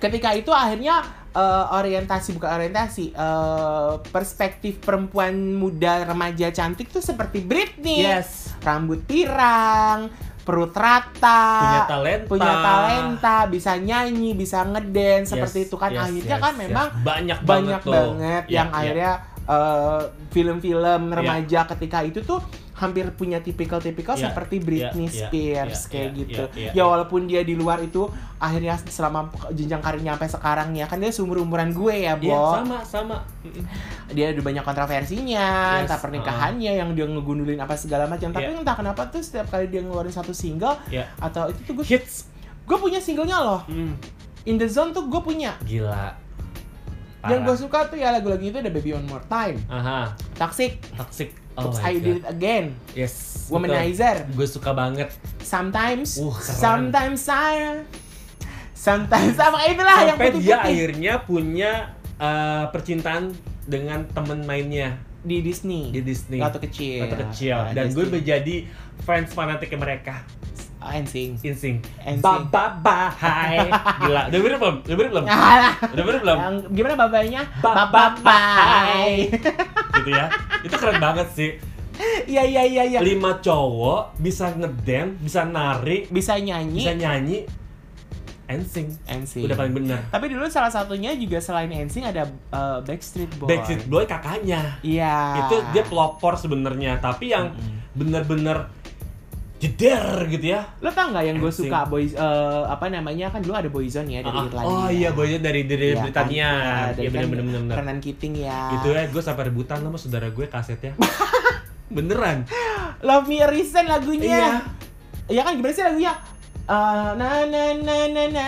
Ketika itu akhirnya eh, orientasi bukan orientasi eh, perspektif perempuan muda remaja cantik tuh seperti Britney
Yes.
rambut pirang, perut rata,
Punya talenta.
Ah, punya talenta, bisa nyanyi, bisa ngedance seperti
Yes,
itu kan
yes,
akhirnya
yes,
kan
yes.
memang
banyak
banyak
banget, tuh.
banget
Ya,
yang
ya.
akhirnya eh, film-film remaja ketika itu tuh hampir punya tipikal-tipikal
Ya,
seperti Britney
ya, ya,
Spears
ya,
kayak
ya,
gitu.
ya, ya,
ya
ya.
walaupun dia di luar itu akhirnya selama jenjang karirnya sampai sekarang ya kan dia seumur umuran gue ya, Bo
Iya, sama sama. Mm-mm.
dia ada banyak kontroversinya,
Yes, Ah.
entah pernikahannya yang dia ngegundulin apa segala macam. Tapi
Iya.
entah kenapa tuh setiap kali dia ngeluarin satu single
Iya.
atau itu tuh gue
Hits.
gue punya singlenya loh.
Mm.
In the Zone tuh gue punya.
Gila. Parah.
Yang gue suka tuh ya lagu-lagu itu ada Baby One More Time,
Aha,
Toxic,
toxic. Oh
Oops
my
I Did It Again,
Yes.
Womanizer,
Gue suka banget.
Sometimes,
Uh, keren.
Sometimes I, Sometimes apa kayak itulah Ah, yang
Sampai dia
putih-putih
akhirnya punya eh, percintaan dengan temen mainnya
di Disney.
di Disney.
Waktu kecil.
Waktu kecil. Iya,
Nah,
Dan gue
Disney.
menjadi fans fanatik mereka.
Oh, NSYNC.
Insing.
NSYNC.
Ba ba ba hai. Gila. Udah bener belum? Udah bener belum? Udah bener belum?
Yang gimana babanya?
Ba-
Babapai.
Gitu ya. Itu keren banget sih.
Iya iya iya iya.
Lima cowok bisa ngedance, bisa nari,
Bisa
bisa
nyanyi.
nyanyi. Ensing.
NSYNC.
Udah paling bener.
Tapi dulu salah satunya juga selain NSYNC ada eh, Backstreet Boys.
Backstreet Boy Ah. kakaknya.
Iya.
Itu dia pelopor sebenarnya, tapi yang
Mm-mm.
bener-bener jeder gitu ya.
Lo tau nggak yang gue
NSYNC.
suka boys eh, apa namanya kan dulu ada Boyzone ya dari
Ah,
Irlandia.
oh iya, boynya dari dari
Iya,
Britania.
kan?
Iya
Dari kan
bener-bener bener. bener.
Kenan Keating ya.
Gitu ya, gue sampai rebutan sama saudara gue kasetnya. Beneran.
Love Me Reason lagunya.
Iya.
Iya kan gimana sih lagunya? uh, na na na na na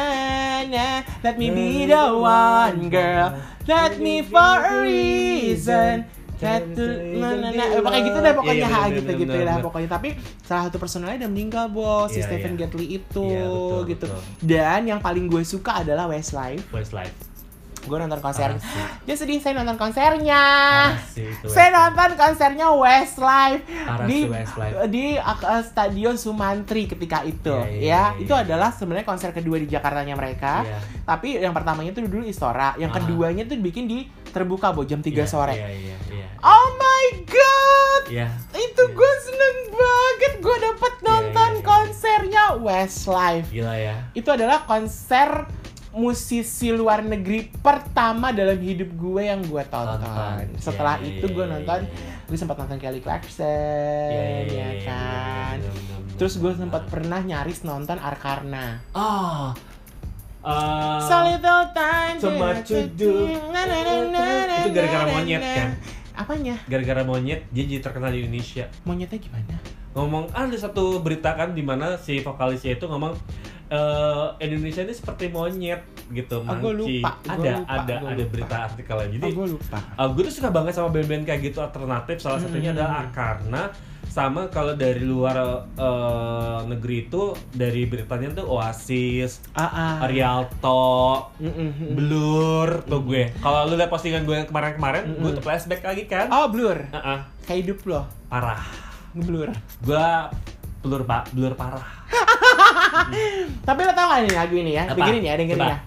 na let me be the one girl let me for a reason That to- na na na Eh, pakai gitu deh pokoknya
Iya, iya,
ha
bener,
gitu
bener,
gitu
bener,
lah
bener.
pokoknya tapi salah satu personelnya udah meninggal bos si
Iya,
Stephen
iya.
Gately itu
Iya, betul,
gitu
betul.
dan yang paling gue suka adalah Westlife
Westlife.
gue nonton konsernya
Asik.
dia sedih saya nonton konsernya
Asik Ah.
Ah.
itu
saya
Westlife.
nonton konsernya Westlife
Parah
di
sih Westlife.
di uh, stadion Sumantri ketika itu
Iya, iya,
ya
iya,
itu
iya.
adalah sebenarnya konser kedua di Jakartanya mereka
Iya.
tapi yang pertamanya itu dulu Istora yang
Ah.
keduanya tuh bikin di terbuka bu jam 3
Iya,
sore
Iya, iya, iya.
oh my god
Iya.
itu
Iya.
gue seneng banget gue dapet nonton
iya, iya.
konsernya Westlife
Gila ya.
itu adalah konser musisi luar negeri pertama dalam hidup gue yang gue tonton.
Tonton.
Setelah
Iya, iya,
itu gue
iya,
nonton,
iya, iya.
gue sempat nonton Kelly Clarkson,
Iya, iya, iya,
ya
iya,
kan.
bener, bener, bener,
Terus gue
bener.
sempat pernah nyaris nonton Arkarna.
iya. Ah. Eh,
So little time
so much to do. Itu gara-gara monyet, kan?
Apanya?
gara-gara monyet dia jadi terkenal di Indonesia.
Monyetnya gimana?
ngomong ah, ada satu berita kan di mana si vokalisnya itu ngomong eh, Indonesia ini seperti monyet gitu
Ah, gua
manci
lupa, gua
ada
lupa,
ada
gua
ada
lupa.
berita artikelnya jadi
oh, gue lupa.
eh, gue tuh suka banget sama band-band kayak gitu alternatif salah satunya
Hmm.
adalah karena sama kalau dari luar eh, negeri itu dari Britania tuh Oasis,
Ah, ah.
Rialto,
Mm-mm.
Blur tuh gue. Kalau lu lihat postingan gue yang kemarin-kemarin, gue
Mm-mm.
tuh flashback lagi kan?
Oh, blur.
Heeh,
Kayak hidup lo,
parah.
blur.
Gue blur pa- blur parah.
Tapi lo tau gak nih lagu ini ya?
Apa?
Dengerin ya, dengerin
Coba.
ya.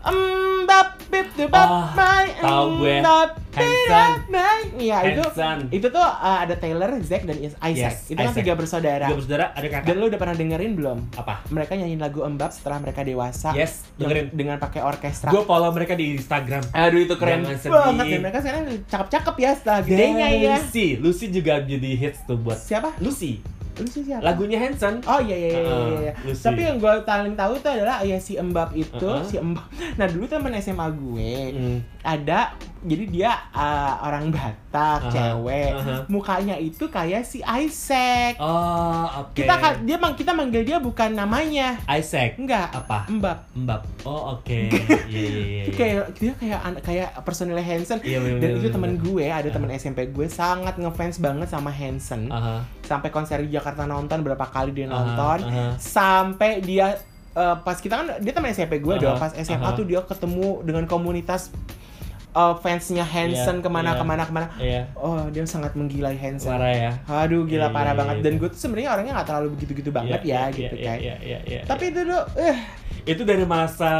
Embap bip tuh bap
Oh,
my
tahu gue.
embap bip
Hanson.
bap my. Iya itu.
Hanson.
Itu tuh uh, ada Taylor, Zack dan Is- Isaac.
Yes,
itu kan
Isaac.
tiga bersaudara.
Tiga bersaudara ada kakak.
Dan lo udah pernah dengerin belum?
apa?
Mereka nyanyiin lagu embab setelah mereka dewasa.
Yes,
Yang-
Iya, dengerin.
Dengan pakai orkestra.
Gue follow mereka di Instagram.
Aduh itu keren
Jangan sedih.
banget dan mereka sekarang cakep-cakep ya setelah gedenya ya.
Lucy, Lucy juga jadi hits tuh buat
Siapa?
Lucy.
Lu sih siapa?
Lagunya Hanson.
Oh iya iya iya iya,
Heeh,
iya.
lu sih.
Tapi yang gue paling tahu tuh adalah ya si Embab itu,
Heeh.
si Embab. Nah, dulu temen SMA gue
Mm.
ada jadi dia uh, orang Batak,
Aha,
cewek.
aha.
Mukanya itu kayak si Isaac.
Oh, oke.
Kita ka- dia mang kita manggil dia bukan namanya.
Isaac.
Enggak,
Apa?
Embab.
Mbak. Oh, oke. Iya, iya, iya.
Itu kayak dia kayak anak- kayak personilnya Hanson.
Iya,
Dan
bener, bener,
itu
bener,
temen
bener.
gue, ada temen SMP gue sangat ngefans banget sama Hanson.
Aha.
Sampai konser di Jakarta nonton berapa kali dia
Aha,
nonton.
aha.
sampai dia eh, pas kita kan dia teman SMP gue dong
Aha,
pas SMA
aha.
tuh dia ketemu dengan komunitas eh, fansnya Hanson
Iya,
kemana
iya.
kemana kemana
Iya.
oh dia sangat menggilai Hanson
Suara ya.
aduh gila
Iya,
parah
iya,
banget
iya,
dan
iya.
gue tuh sebenarnya orangnya nggak terlalu begitu gitu banget
Iya,
ya
iya,
gitu
iya,
kan
Iya, iya, iya.
tapi
iya.
itu dulu eh
itu dari masa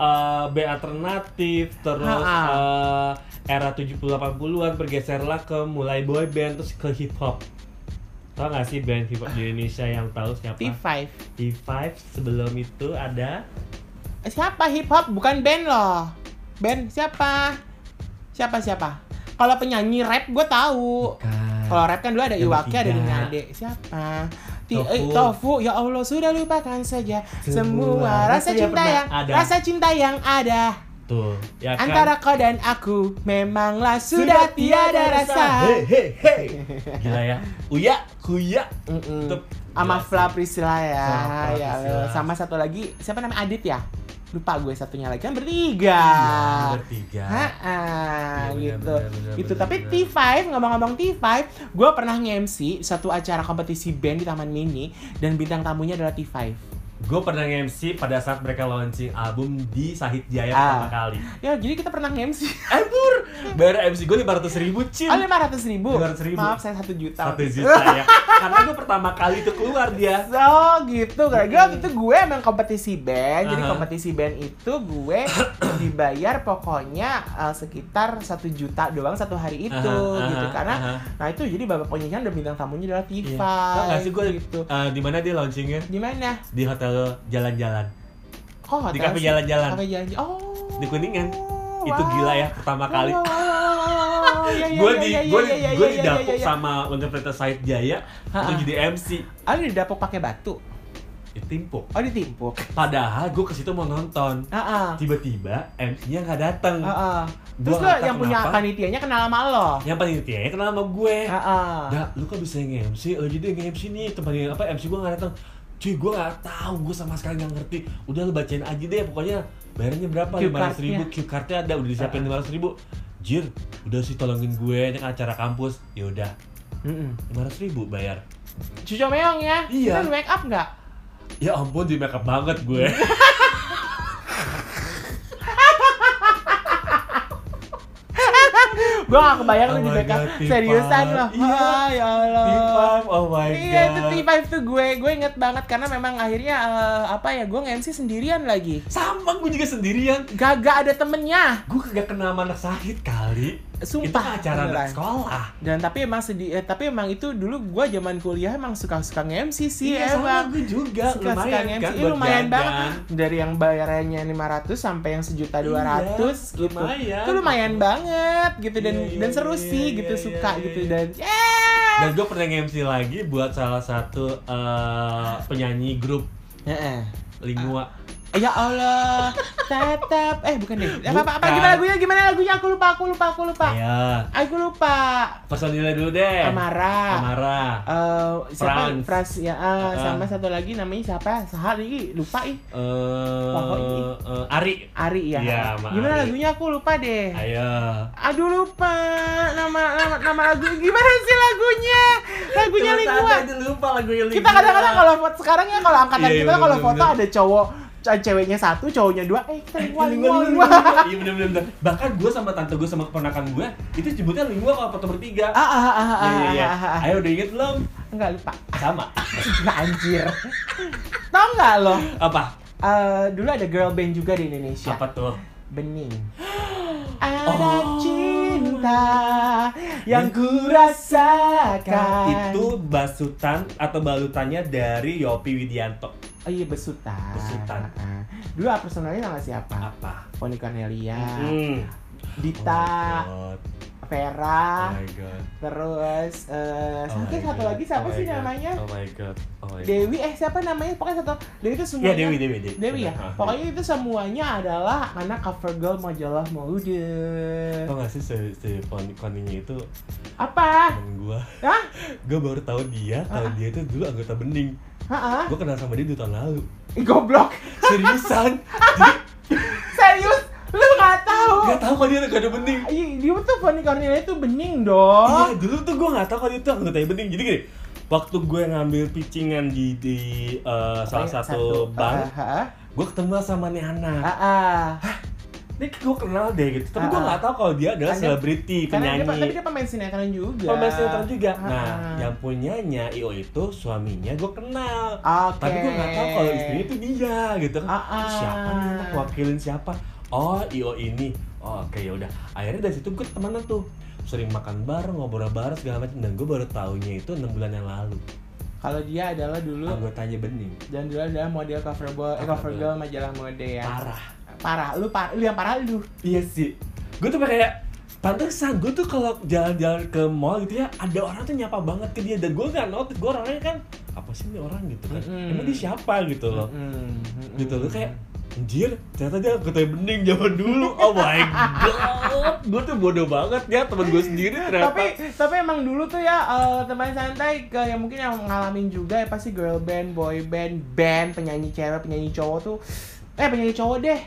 eh, B alternatif terus
Ha-ha.
eh, era 70-80-an bergeserlah ke mulai boy band terus ke hip hop. Tau gak sih band hip hop di Indonesia yang tahu siapa?
T5
T5 sebelum itu ada
siapa hip hop bukan band loh band siapa siapa siapa kalau penyanyi rap gue tahu Kalau rap kan dulu ada
Yang
Iwaki, ada
ketiga.
Ade Siapa? Ti-
Tofu.
eh, tofu. ya Allah sudah lupakan saja semua
Semua
rasa
rasa yang
cinta
pernah
yang
ada.
rasa cinta yang ada
tuh ya kan?
antara kau dan aku memanglah sudah, tiada rasa.
Hey, hey, hey. Gila ya. Uya, kuya.
Mm-mm.
Tetep Iya.
Sama
jelas
Fla
sih.
Priscilla ya.
Fla
ya
Priscilla.
Allah. Sama satu lagi siapa namanya Adit ya? Lupa gue satunya lagi kan bertiga.
Iya, bertiga.
Ha-ah,
Iya, benar,
gitu.
benar, benar,
itu
benar,
tapi
benar.
T5 ngomong-ngomong T5, gue pernah nge-MC satu acara kompetisi band di Taman Mini dan bintang tamunya adalah T5.
Gue pernah nge-MC pada saat mereka launching album di Sahid Jaya
Ah.
pertama kali.
Ya, jadi kita pernah nge-MC.
Ebur, bayar MC gue 500 ribu, Cin.
Oh, 500 ribu.
500.000.
Maaf, saya 1 juta.
satu juta ya karena itu pertama kali itu keluar dia
So gitu, gara-gara waktu itu gue emang kompetisi band, jadi
Iya, Aha.
kompetisi band itu gue dibayar pokoknya uh, sekitar satu juta doang satu hari itu
Aha,
gitu
aha,
karena
aha.
nah itu jadi babak penyanyian dan bintang tamunya adalah Tifa
Tau Iya. nggak sih gue
Iya. gitu.
eh, di mana dia launchingnya
Gimana?
di hotel jalan-jalan
Kok hotel
Di kafe
Oh, sih?
jalan-jalan.
Kafe jalan-jalan. Oh.
di kuningan itu
wow.
gila ya pertama kali
Wow, wow, wow, wow. Ya, ya,
gue
ya,
di
ya,
gue
ya, ya, ya,
gue
ya,
didapuk
ya, ya.
sama Universitas Said Jaya
Ha-ha.
untuk jadi MC
Ah, lu didapuk pakai batu.
ditimpuk
Oh, Ah, ditimpuk.
padahal gue ke situ mau nonton
Heeh.
tiba-tiba MC-nya nggak datang
Heeh. Ah, Terus
Gua
lo
nggak
yang
tahu
punya
kenapa. Eh,
panitianya kenal sama lo. Ah,
yang panitianya ya, kenal sama gue Ya,
Heeh.
Eh, Dah, lu kok bisa nge-MC? Lu jadi nge-MC nih, tempatnya apa MC gua gak datang. cuy gue nggak tahu gue sama sekali nggak ngerti udah lu bacain aja deh pokoknya bayarnya berapa
Cue
lima ratus ribu
cardnya. Ah.
cue cardnya ada udah disiapin lima ratus ribu jir udah sih tolongin gue ini kan acara kampus ya udah
Mm-mm.
lima ratus ribu bayar
Cucu meong ya?
Iya.
Kita make up nggak?
ya ampun di makeup banget gue
Iya. Gua gak kebayang tuh
Oh
di
my
make up.
God, Tiffan.
Seriusan loh.
Iya.
Ah, ya Allah.
T5, oh my
Iya, itu
god
T5 tuh gue, gue inget banget karena memang akhirnya eh, apa ya, gue nge-MC sendirian lagi.
sama gue juga sendirian
Gagak ada temennya,
gue kagak kena sama anak sakit kali itu
sumpah.
acara anak
beneran.
sekolah
Dan tapi emang sedih, eh, tapi emang itu dulu gue zaman kuliah emang suka-suka nge-MC sih
iya,
emang.
sama gue juga
suka-suka
lumayan
nge-MC Ih,
kan buat
Iya, lumayan
jajan.
banget dari yang bayarannya 500 sampai yang sejuta dua ratus gitu
Iya, lumayan.
itu lumayan banget gitu dan
Iya, iya,
dan seru
iya,
sih
iya,
gitu
iya,
suka
iya,
gitu
iya.
dan yeah!
dan gue pernah nge-MC lagi buat salah satu eh, penyanyi grup
Heeh.
Lingua
Ya Allah, tetap eh bukan deh. Apa, apa, apa
Bukan.
gimana lagunya? Gimana lagunya? Aku lupa, aku lupa, aku lupa.
ya
Aku lupa.
personilnya dulu deh
Amara.
Eh, Amara
Eh, siapa?
Frans.
Frans ya, ah,
Ah.
sama satu lagi namanya siapa? Sahal ini lupa ih.
Eh,
Pokoknya.
eh, Ari
Ari ya.
Iya, sama
Gimana
Ari.
lagunya aku lupa deh.
ayo
Aduh lupa nama nama nama lagu gimana sih lagunya? Lagunya
Cuma
lingua.
tadi lupa lagu Lingua
Kita kadang-kadang kalau foto sekarang ya kalau angkatan
Iya, iya,
kita kalau
bener,
foto
bener.
ada cowok ce- ceweknya satu, cowoknya dua. Eh,
Iya,
kita lingua lingua
lingua,
lingua.
lingua. Iya bener bener bener. Bahkan gue sama tante gue sama keponakan gue itu nyebutnya lingua kalau foto bertiga.
Ah ah ah ah,
Iya iya iya.
ah, ah, ah.
Ayo udah inget belum?
Enggak lupa.
Sama.
Enggak anjir. Tau enggak lo?
Apa?
Eh, dulu ada girl band juga di Indonesia.
Apa tuh?
Bening. Ada
Oh.
cinta yang ku rasakan.
Itu basutan atau balutannya dari Yopi Widianto.
Oh iya besutan.
Besutan.
Heeh. Dulu ah, personalnya sama siapa?
Apa?
Poni Cornelia,
Hmm.
Dita,
Oh my god. Oh
Vera,
my god.
terus eh
Oh
satu
my
Ah. satu
god.
lagi siapa
Oh my
sih
god.
namanya?
Oh my god. Oh my god.
Dewi eh siapa namanya? Pokoknya satu Dewi itu
Ya
semuanya.
Dewi Iya. Dewi Dewi.
Dewi ya.
Hah.
Pokoknya itu semuanya adalah anak cover girl majalah mode.
Tau gak sih si, si Pon- Koninya itu
Apa?
temen gue
Hah?
Gue baru tahu dia, tahu
Ah.
dia itu dulu anggota bening
Hah?
Gue kenal sama dia 2 tahun lalu
Ih, Goblok.
Seriusan?
Serius? Lu nggak tahu?
Gak tau kok dia gak ada bening
Iya, dia tuh Poni Cornelia itu bening dong.
Iya, dulu tuh gue gak tau kalau itu anggotanya penting. Jadi gini, waktu gue ngambil pitchingan di, di eh, salah
Pokoknya
satu bank,
ya? Iya, Ah, ah,
gue ketemu sama nih
ah,
anak.
ah, ah.
Ini gue kenal deh gitu, tapi gue
Ah, ah.
gak tau kalau dia adalah
Karena-
selebriti,
Karena dia, tapi
penyanyi.
dia pemain sinetron juga.
Pemain sinetron juga.
Ah,
Nah,
ah.
yang punyanya IO itu suaminya gue kenal.
Oke.
Tapi gue gak tau kalau istrinya itu dia gitu kan.
Ah, ah.
Siapa nih anak wakilin siapa? Oh, IO ini. Oh, oke ya udah. Akhirnya dari situ gue temenan tuh sering makan bareng, ngobrol bareng segala macam dan gue baru taunya itu enam bulan yang lalu
Kalau dia adalah dulu
anggotanya bening
dan dulu adalah model cover boy, eh, cover girl majalah mode ya.
parah
Parah, lu parah, lu yang parah lu.
iya sih gue tuh kayak pantesan gue tuh kalau jalan-jalan ke mall gitu ya ada orang tuh nyapa banget ke dia dan gue nggak notice gue orangnya kan apa sih ini orang gitu kan
Mm-mm.
emang dia siapa gitu loh
Mm, mm,
gitu
mm.
loh kayak anjir ternyata dia anggotanya bening zaman dulu oh my god gue tuh bodoh banget ya temen gue sendiri ternyata
tapi tapi emang dulu tuh ya eh, teman santai ke yang mungkin yang ngalamin juga ya pasti girl band, boy band, band, penyanyi cewek, penyanyi cowok tuh eh penyanyi cowok deh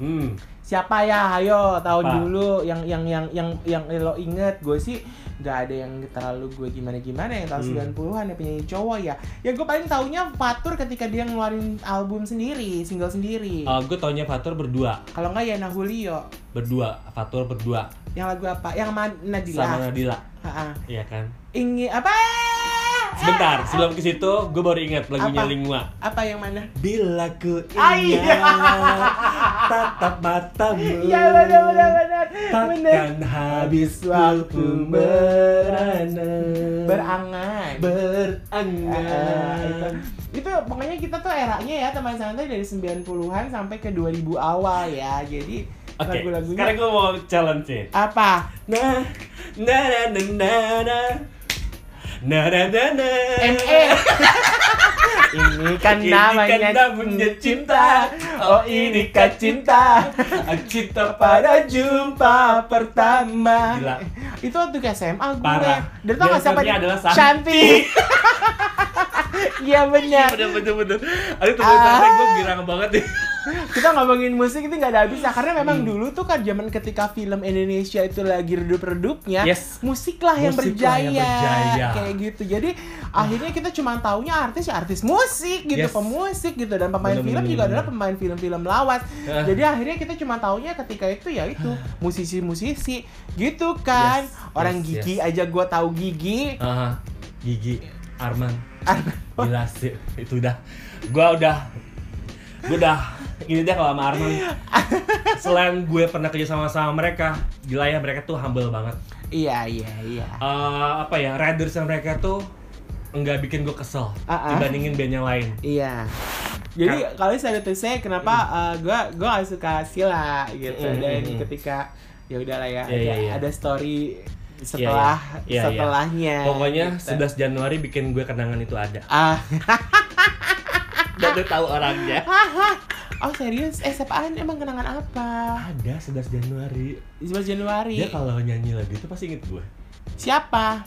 hmm.
siapa ya ayo tahun
Siapa?
dulu yang yang yang yang yang lo inget gue sih nggak ada yang terlalu gue gimana gimana yang tahun
Hmm.
90-an ya penyanyi cowok ya ya gue paling taunya Fatur ketika dia ngeluarin album sendiri single sendiri
Eh, gue taunya Fatur berdua
kalau nggak Yana Julio
berdua Fatur berdua
yang lagu apa yang sama
sama
Nadila
Nadila
Ha-ha.
iya kan
ingin apa
Sebentar, sebelum ke situ, gue baru ingat lagunya
Eh. Apa?
Lingua.
apa yang mana
Bila ku
Ah, iya.
ingat tatap matamu,
ya benar benar benar benar
takkan habis waktu beranang,
berangan Ah, itu.
berangan.
itu pokoknya kita tuh eranya ya teman santai dari 90-an sampai ke 2000 awal ya. Jadi
Oke,
lagu-lagunya
sekarang gue mau challenge nih.
apa?
Nah, na na na na na. Na na na na.
ME. Eh. E. ini kan
Ini kan
namanya,
namanya cinta.
Oh, ini kan cinta.
Cinta pada
Pada jumpa pertama.
Gila.
Itu waktu ke SMA gue.
Parah.
Dan tau gak siapa?
Dancernya adalah Shanti.
Shanti. Iya benar.
Bener bener bener. Aduh temen santai gue girang banget nih.
Kita ngomongin musik itu nggak ada habisnya karena memang
Hmm.
dulu tuh kan zaman ketika film Indonesia itu lagi redup-redupnya,
Yes.
musiklah yang
Musik lah
berjaya,
yang berjaya.
kayak gitu. Jadi akhirnya kita cuma taunya artis ya artis musik gitu,
Yes.
pemusik gitu dan pemain
Bener,
film
bener,
juga
bener.
adalah pemain film-film lawas.
Ah.
Jadi akhirnya kita cuma taunya ketika itu ya itu musisi-musisi gitu kan.
Eh. Yes,
Orang
yes,
gigi aja gua tahu gigi.
Ah, gigi Arman. Gila sih itu udah. Gua udah gue udah ini deh kalau sama Arman selain gue pernah kerja sama sama mereka gila ya mereka tuh humble banget
Iya, iya, iya.
Eh, apa ya riders mereka tuh nggak bikin gue kesel
Ah, ah.
dibandingin band yang lain
Iya. Jadi kalau saya tuh saya kenapa eh, gua gua gak suka Sila gitu
Mm, mm,
dan
mm.
ketika ya udahlah ya
Iya,
ada,
iya, iya.
ada story setelah
Iya, iya. Iya, iya.
setelahnya.
pokoknya
gitu.
11 Januari bikin gue kenangan itu ada
ah
dan lu tahu orangnya
oh serius eh siapaan emang kenangan apa?
ada 11 Januari
11 Januari.
dia kalau nyanyi lagu itu pasti inget gue
Siapa?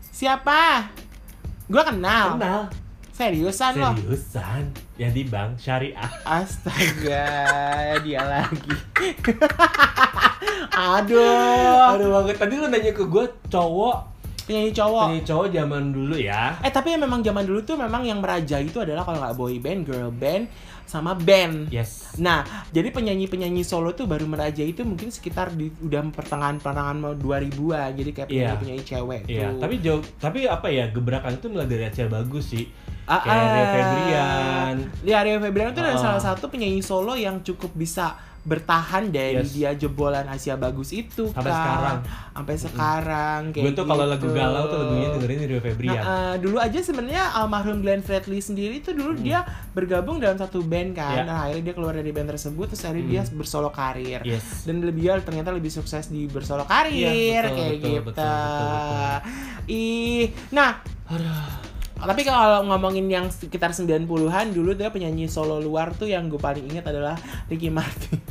Siapa? Gua kenal.
kenal
Seriusan loh.
seriusan yang di bank syariah
Astaga, dia lagi. Aduh.
aduh banget tadi lu nanya ke gue cowok
Penyanyi cowok.
penyanyi cowok zaman dulu ya
Eh tapi memang zaman dulu tuh memang yang merajai itu adalah kalau nggak boy band, girl band, sama band.
yes
Nah, jadi penyanyi-penyanyi solo tuh baru merajai itu mungkin sekitar di udah pertengahan pertengahan mau 2000-an. Jadi kayak
Iya.
penyanyi-penyanyi cewek
Iya,
tuh.
tapi jauh, tapi apa ya gebrakan itu mulai dari Acel bagus sih.
Ah,
kayak Rio
ah.
Febrian.
Iya, Rio Febrian itu adalah
Ah.
salah satu penyanyi solo yang cukup bisa bertahan dari
Yes.
dia jebolan Asia bagus itu
Sampai
kan.
sekarang.
Sampai sekarang kayak
Gue tuh kalau lagu
gitu.
galau tuh lagunya dengerin Rio Febrian.
Nah, eh, dulu aja sebenarnya almarhum Glenn Fredly sendiri tuh dulu dia bergabung dalam satu band kan.
Hmm. Ya. Hmm.
Nah, akhirnya dia keluar dari band tersebut terus akhirnya dia bersolo karir.
Yes.
Dan lebih dia ternyata lebih sukses di bersolo karir kayak
Iya, betul, betul,
gitu.
betul, betul, betul.
Ih, nah tapi kalau ngomongin yang sekitar 90-an dulu tuh ya penyanyi solo luar tuh yang gue paling ingat adalah Ricky Martin.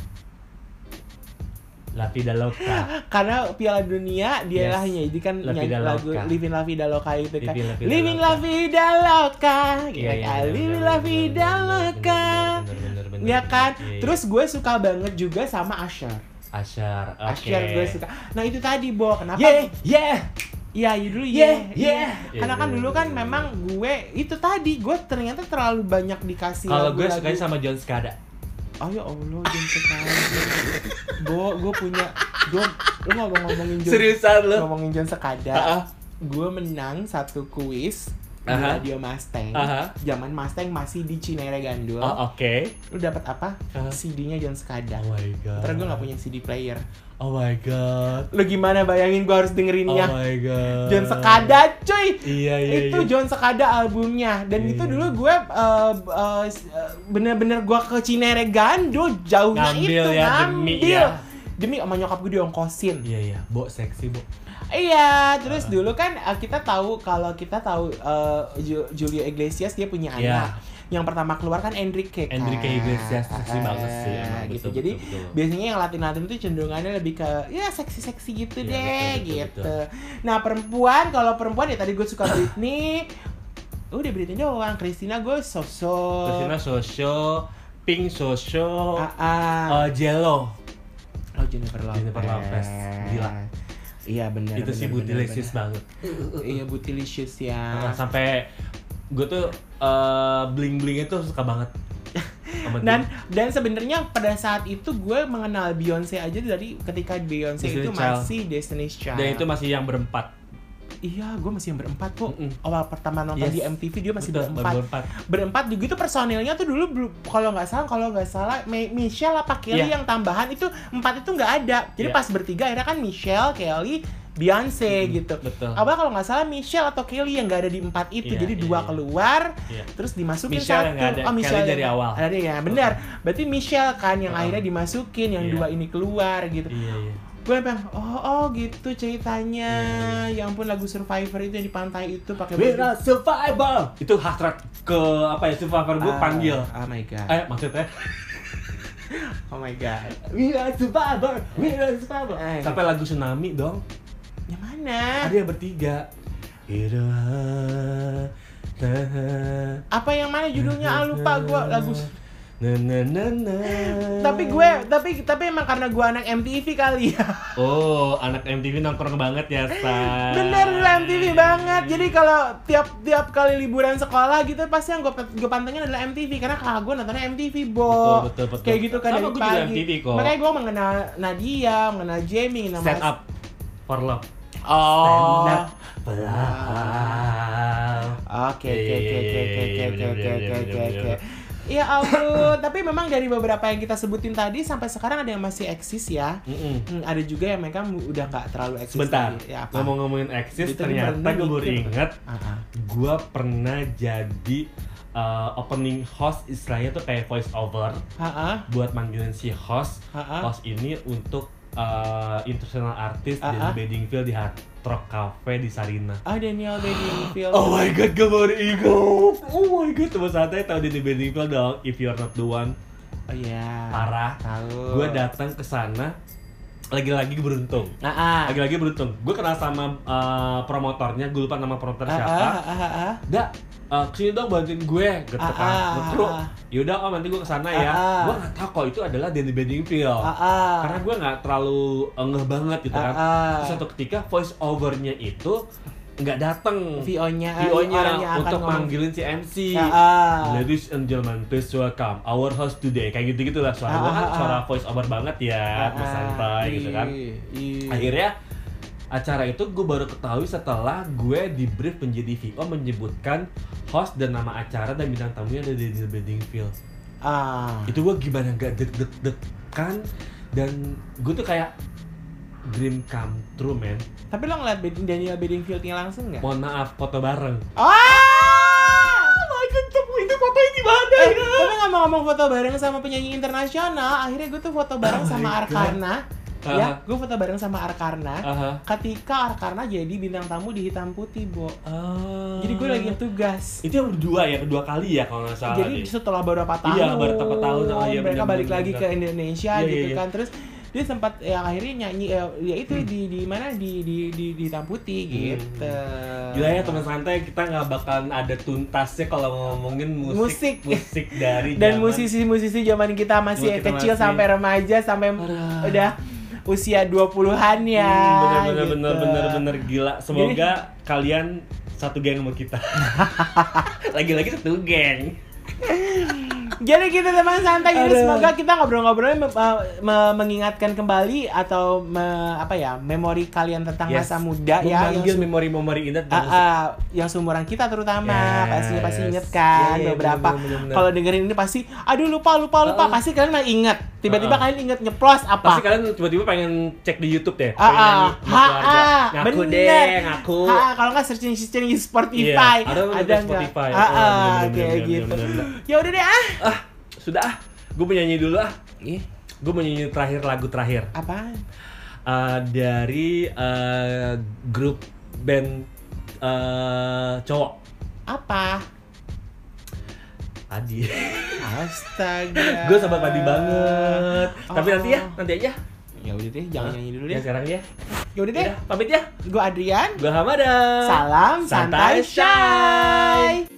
Lapida Loka.
Karena Piala Dunia dia
Yes.
lah yang nyanyikan
La
nyanyi
Vida
lagu
Loca.
Living La Vida Loca itu kan.
Living La Vida
Living La
Loca.
Vida Loca. Gitu
Iya, iya,
kan.
bener,
Living
bener,
La
bener,
Vida
bener, bener,
Loca.
bener, bener, bener, bener,
Ya kan?
bener. Iya, iya.
Terus gue suka banget juga sama Asher.
Asyar. Oke.
Asher gue suka. Nah itu tadi Bo, kenapa?
Yeah, yeah.
Iya, iya dulu
Yeah,
iya. iya.
yeah.
Karena kan
Iya,
dulu
iya,
kan
iya,
memang gue itu tadi gue ternyata terlalu banyak dikasih
Kalau gue
lagu-lagu.
sukanya sama John Skada.
Oh ya Allah, John sekali. Bo, gue punya gue lu ngomong-ngomongin John
Seriusan lu?
ngomongin John sekada.
Ah, ah.
Gue menang satu kuis di
Aha.
Radio Mustang.
Aha.
Zaman Mustang masih di Cinere Gandul.
Oh, oke.
Lu dapat apa?
Aha.
CD-nya John sekada.
Oh my god.
Ya. Ntar gue gak punya CD player.
Oh my god.
Lu gimana bayangin gue harus
Oh
dengerinnya?
my god.
Iya. John Sekada cuy
Iya, iya,
itu
iya.
John Sekada albumnya dan
Iya,
itu
iya.
dulu gue eh, eh, bener-bener gue ke Cinere Gando jauhnya
Ngambil
itu
ya, demi
ngambil
ya.
demi sama nyokap gue diongkosin
Iya, iya. Bo seksi, Bo.
Iya, terus dulu kan eh, kita tahu kalau kita tahu eh, Ju- Julio Iglesias dia punya
Iya.
anak. Yang pertama keluar kan Enrique. kan.
Enrique Iglesias
Eh,
seksi banget sih, emang
gitu.
betul,
Jadi
betul, betul.
biasanya yang Latin-Latin itu cenderungannya lebih ke ya seksi-seksi gitu
Iya,
deh
betul, betul,
gitu. Nah, perempuan kalau perempuan ya tadi gue suka Britney. Udah Britney doang, Christina gue sosok.
Christina Sosho, Pink
Oh.
Sosho,
Ah, ah.
eh, Jello.
Oh, Jennifer Lopez.
Jennifer Lopez. Gila.
Iya benar.
Itu sih butilicious banget.
Iya butilicious ya.
Nah, sampai gue tuh eh, bling-blingnya tuh suka banget. Sama dia.
dan dan sebenarnya pada saat itu gue mengenal Beyonce aja dari ketika Beyonce
Destiny's
itu
Child.
masih Destiny's Child.
dan itu masih yang berempat.
iya, gue masih yang berempat kok.
Mm-mm.
Awal pertama nonton
Yes.
di MTV dia masih
Betul,
berempat.
baru berempat.
Berempat juga itu personilnya tuh dulu belum kalau nggak salah kalau nggak salah Me- Michelle apa Kelly
Iya.
yang tambahan itu empat itu nggak ada. Jadi
Iya.
pas bertiga akhirnya kan Michelle, Kelly, Beyonce gitu.
betul.
Awal kalau nggak salah Michelle atau Kelly yang nggak ada di empat itu.
Iya,
Jadi
iya,
dua
iya.
keluar,
Iya.
terus dimasukin
Michelle
satu. Oh,
yang nggak ada, Kelly dari
yang-
awal.
Ada ya, benar. Berarti Michelle kan yang
Heeh.
akhirnya dimasukin, yang
Iya.
dua ini keluar gitu.
Iya, iya.
Gue pengen, oh, oh gitu ceritanya.
iya,
Ya ampun lagu Survivor itu yang di pantai itu pakai
We're
baju-
a survivor. Itu hasrat ke apa ya survivor gue
Ah,
panggil.
Oh my god.
Eh maksudnya
Oh my god.
We are survivor, we are survivor.
Eh.
Sampai lagu tsunami dong.
Yang mana?
Ada yang bertiga. Hidup
Apa yang mana judulnya? Ah lupa gue lagu.
Na, na, na, na.
Tapi gue, tapi tapi emang karena gue anak MTV kali ya.
Oh, anak MTV nongkrong banget ya, Stan.
Bener gue MTV banget. Jadi kalau tiap tiap kali liburan sekolah gitu pasti yang gue gue pantengin adalah MTV karena kakak gue nontonnya MTV,
Betul,
Bo.
betul, betul.
Kayak gitu kan
Sama
dari
gue juga
pagi.
MTV kok.
Makanya gue mengenal Nadia, mengenal Jamie, mengenal
Stand
Mas-
up for love.
Oh.
Stand up for love.
Oke oke oke
Iya, iya,
oke
iya,
oke
iya,
oke
bener,
oke
bener,
oke
bener,
oke
bener,
oke.
bener.
Ya ampun, tapi memang dari beberapa yang kita sebutin tadi sampai sekarang ada yang masih eksis ya.
Mm-mm.
Hmm, ada juga yang mereka mu- udah nggak terlalu eksis.
Sebentar,
lagi. Ya, apa?
ngomong ngomongin eksis,
Itu tadi
ternyata
merenung
gue baru
dikit.
inget
Ah, ah.
gue pernah jadi uh, opening host istilahnya tuh kayak voice over
Ah, ah.
buat manggilin si host
Ah, ah.
host ini untuk uh, international artist
Ah, ah.
dari Bedingfield di Hard Rock Cafe di Sarina
Ah Daniel Bedingfield.
Oh my god, gue baru ingat. Oh my god, cuma saatnya tahu di Bedingfield dong. If you're not the one,
Oh iya.
parah.
Tahu.
Gue datang ke sana lagi-lagi beruntung.
Ah, ah.
Lagi-lagi beruntung. Gue kenal sama uh, promotornya, gue lupa nama promotor
Ah, ah,
siapa.
ah, ah, ah.
Da, uh, kesini dong bantuin gue gitu
Ah,
kan
ah,
Nge-crew.
ah.
Yaudah om nanti gue kesana ya
Ah, ah.
Gue gak tau kalau itu adalah Danny Bedingfield
Ah, ah.
Karena gue gak terlalu ngeh banget gitu kan
Ah, ah.
Terus satu ketika voice overnya itu nggak dateng
VO-nya,
VO-nya
orang yang ah, akan
untuk Iya,
ngomong.
manggilin si MC
Ah, ah.
Ladies and gentlemen, please welcome our host today Kayak gitu-gitu lah, suara
Ah,
gue kan
ah, ah.
suara voice over banget ya
Ah, iya.
Mas
ah.
santai gitu kan
Ih, ih.
akhirnya acara itu gue baru ketahui setelah gue di brief menjadi VO menyebutkan host dan nama acara dan bintang tamunya ada di Daniel Bedingfield
Ah.
itu gue gimana gak deg deg deg kan dan gue tuh kayak dream come true man
Tapi lo ngeliat Bed- Daniel Bedingfieldnya langsung nggak?
mohon maaf foto bareng
Ah!
my god itu fotonya di mana
Eh, tapi ngomong-ngomong foto bareng sama penyanyi internasional, akhirnya gue tuh foto bareng
Oh my Ah.
sama Arkarna.
God.
Ya,
Aha.
gue foto bareng sama Arkarna.
Aha.
Ketika Arkarna jadi bintang tamu di Hitam Putih, Bo. Jadi gue lagi
Hmm.
tugas.
itu yang kedua ya kedua kali ya kalau nggak salah
Jadi
deh.
setelah beberapa tahun,
Iya, beberapa tahun, oh iya,
mereka
bener-bener,
balik lagi ke
bener.
Indonesia
Iya,
gitu
iya, Hmm. iya.
kan. Terus dia sempat yang akhirnya nyanyi eh, ya itu di di mana di di di, di Hitam Putih gitu.
Hmm. Gila ya teman santai kita nggak bakalan ada tuntasnya kalau ngomongin musik
Musik.
musik, dari
dan
zaman-
musisi-musisi zaman kita masih
Zaman kita
kecil
masih-
sampai remaja sampai
Parah.
udah usia 20-an ya.
Hmm, bener bener
gitu.
bener bener bener gila. Semoga kalian satu geng sama kita. Lagi-lagi satu geng.
Jadi kita teman santai jadi
Aduh.
semoga kita ngobrol-ngobrolnya mem- eh, me- mengingatkan kembali atau me- apa ya memori kalian tentang
Yes.
masa muda ya yang,
Memanggil
su-
memori-memori
ah,
indah. tentang
ah, yang seumuran kita terutama
Yes.
pasti pasti inget kan
Iya, iya,
beberapa
bener, bener, bener.
kalau dengerin ini pasti aduh lupa lupa lupa
Oh.
pasti kalian mah inget tiba-tiba
Ah, ah.
kalian inget nyeplos apa
Pasti kalian tiba-tiba pengen cek di YouTube deh,
Ah,
pengen
ah,
nyanyi sama
ha,
keluarga.
ah,
Ngaku
bener.
deh, ngaku.
Ha, ah, kalau nggak searching searching di Spotify,
Iya, ada bener di Spotify.
Ah,
Oh,
ah,
bener, bener,
kayak
bener,
gitu.
bener, bener.
Ya udah deh ah.
Ah, sudah ah. Gue mau nyanyi dulu ah.
Ih,
Gue mau nyanyi terakhir lagu terakhir
apaan?
Eh, dari eh, grup band eh, cowok
Apa? Ya.
Adi.
Astaga.
gue sahabat padi banget. Tapi
Oh.
nanti ya, nanti aja.
Ya udah deh, jangan nyanyi dulu
Ya
deh.
sekarang ya.
Ya udah deh.
Udah, pamit ya.
Gue Adrian.
Gue Hamada.
Salam
Santai
santai shy.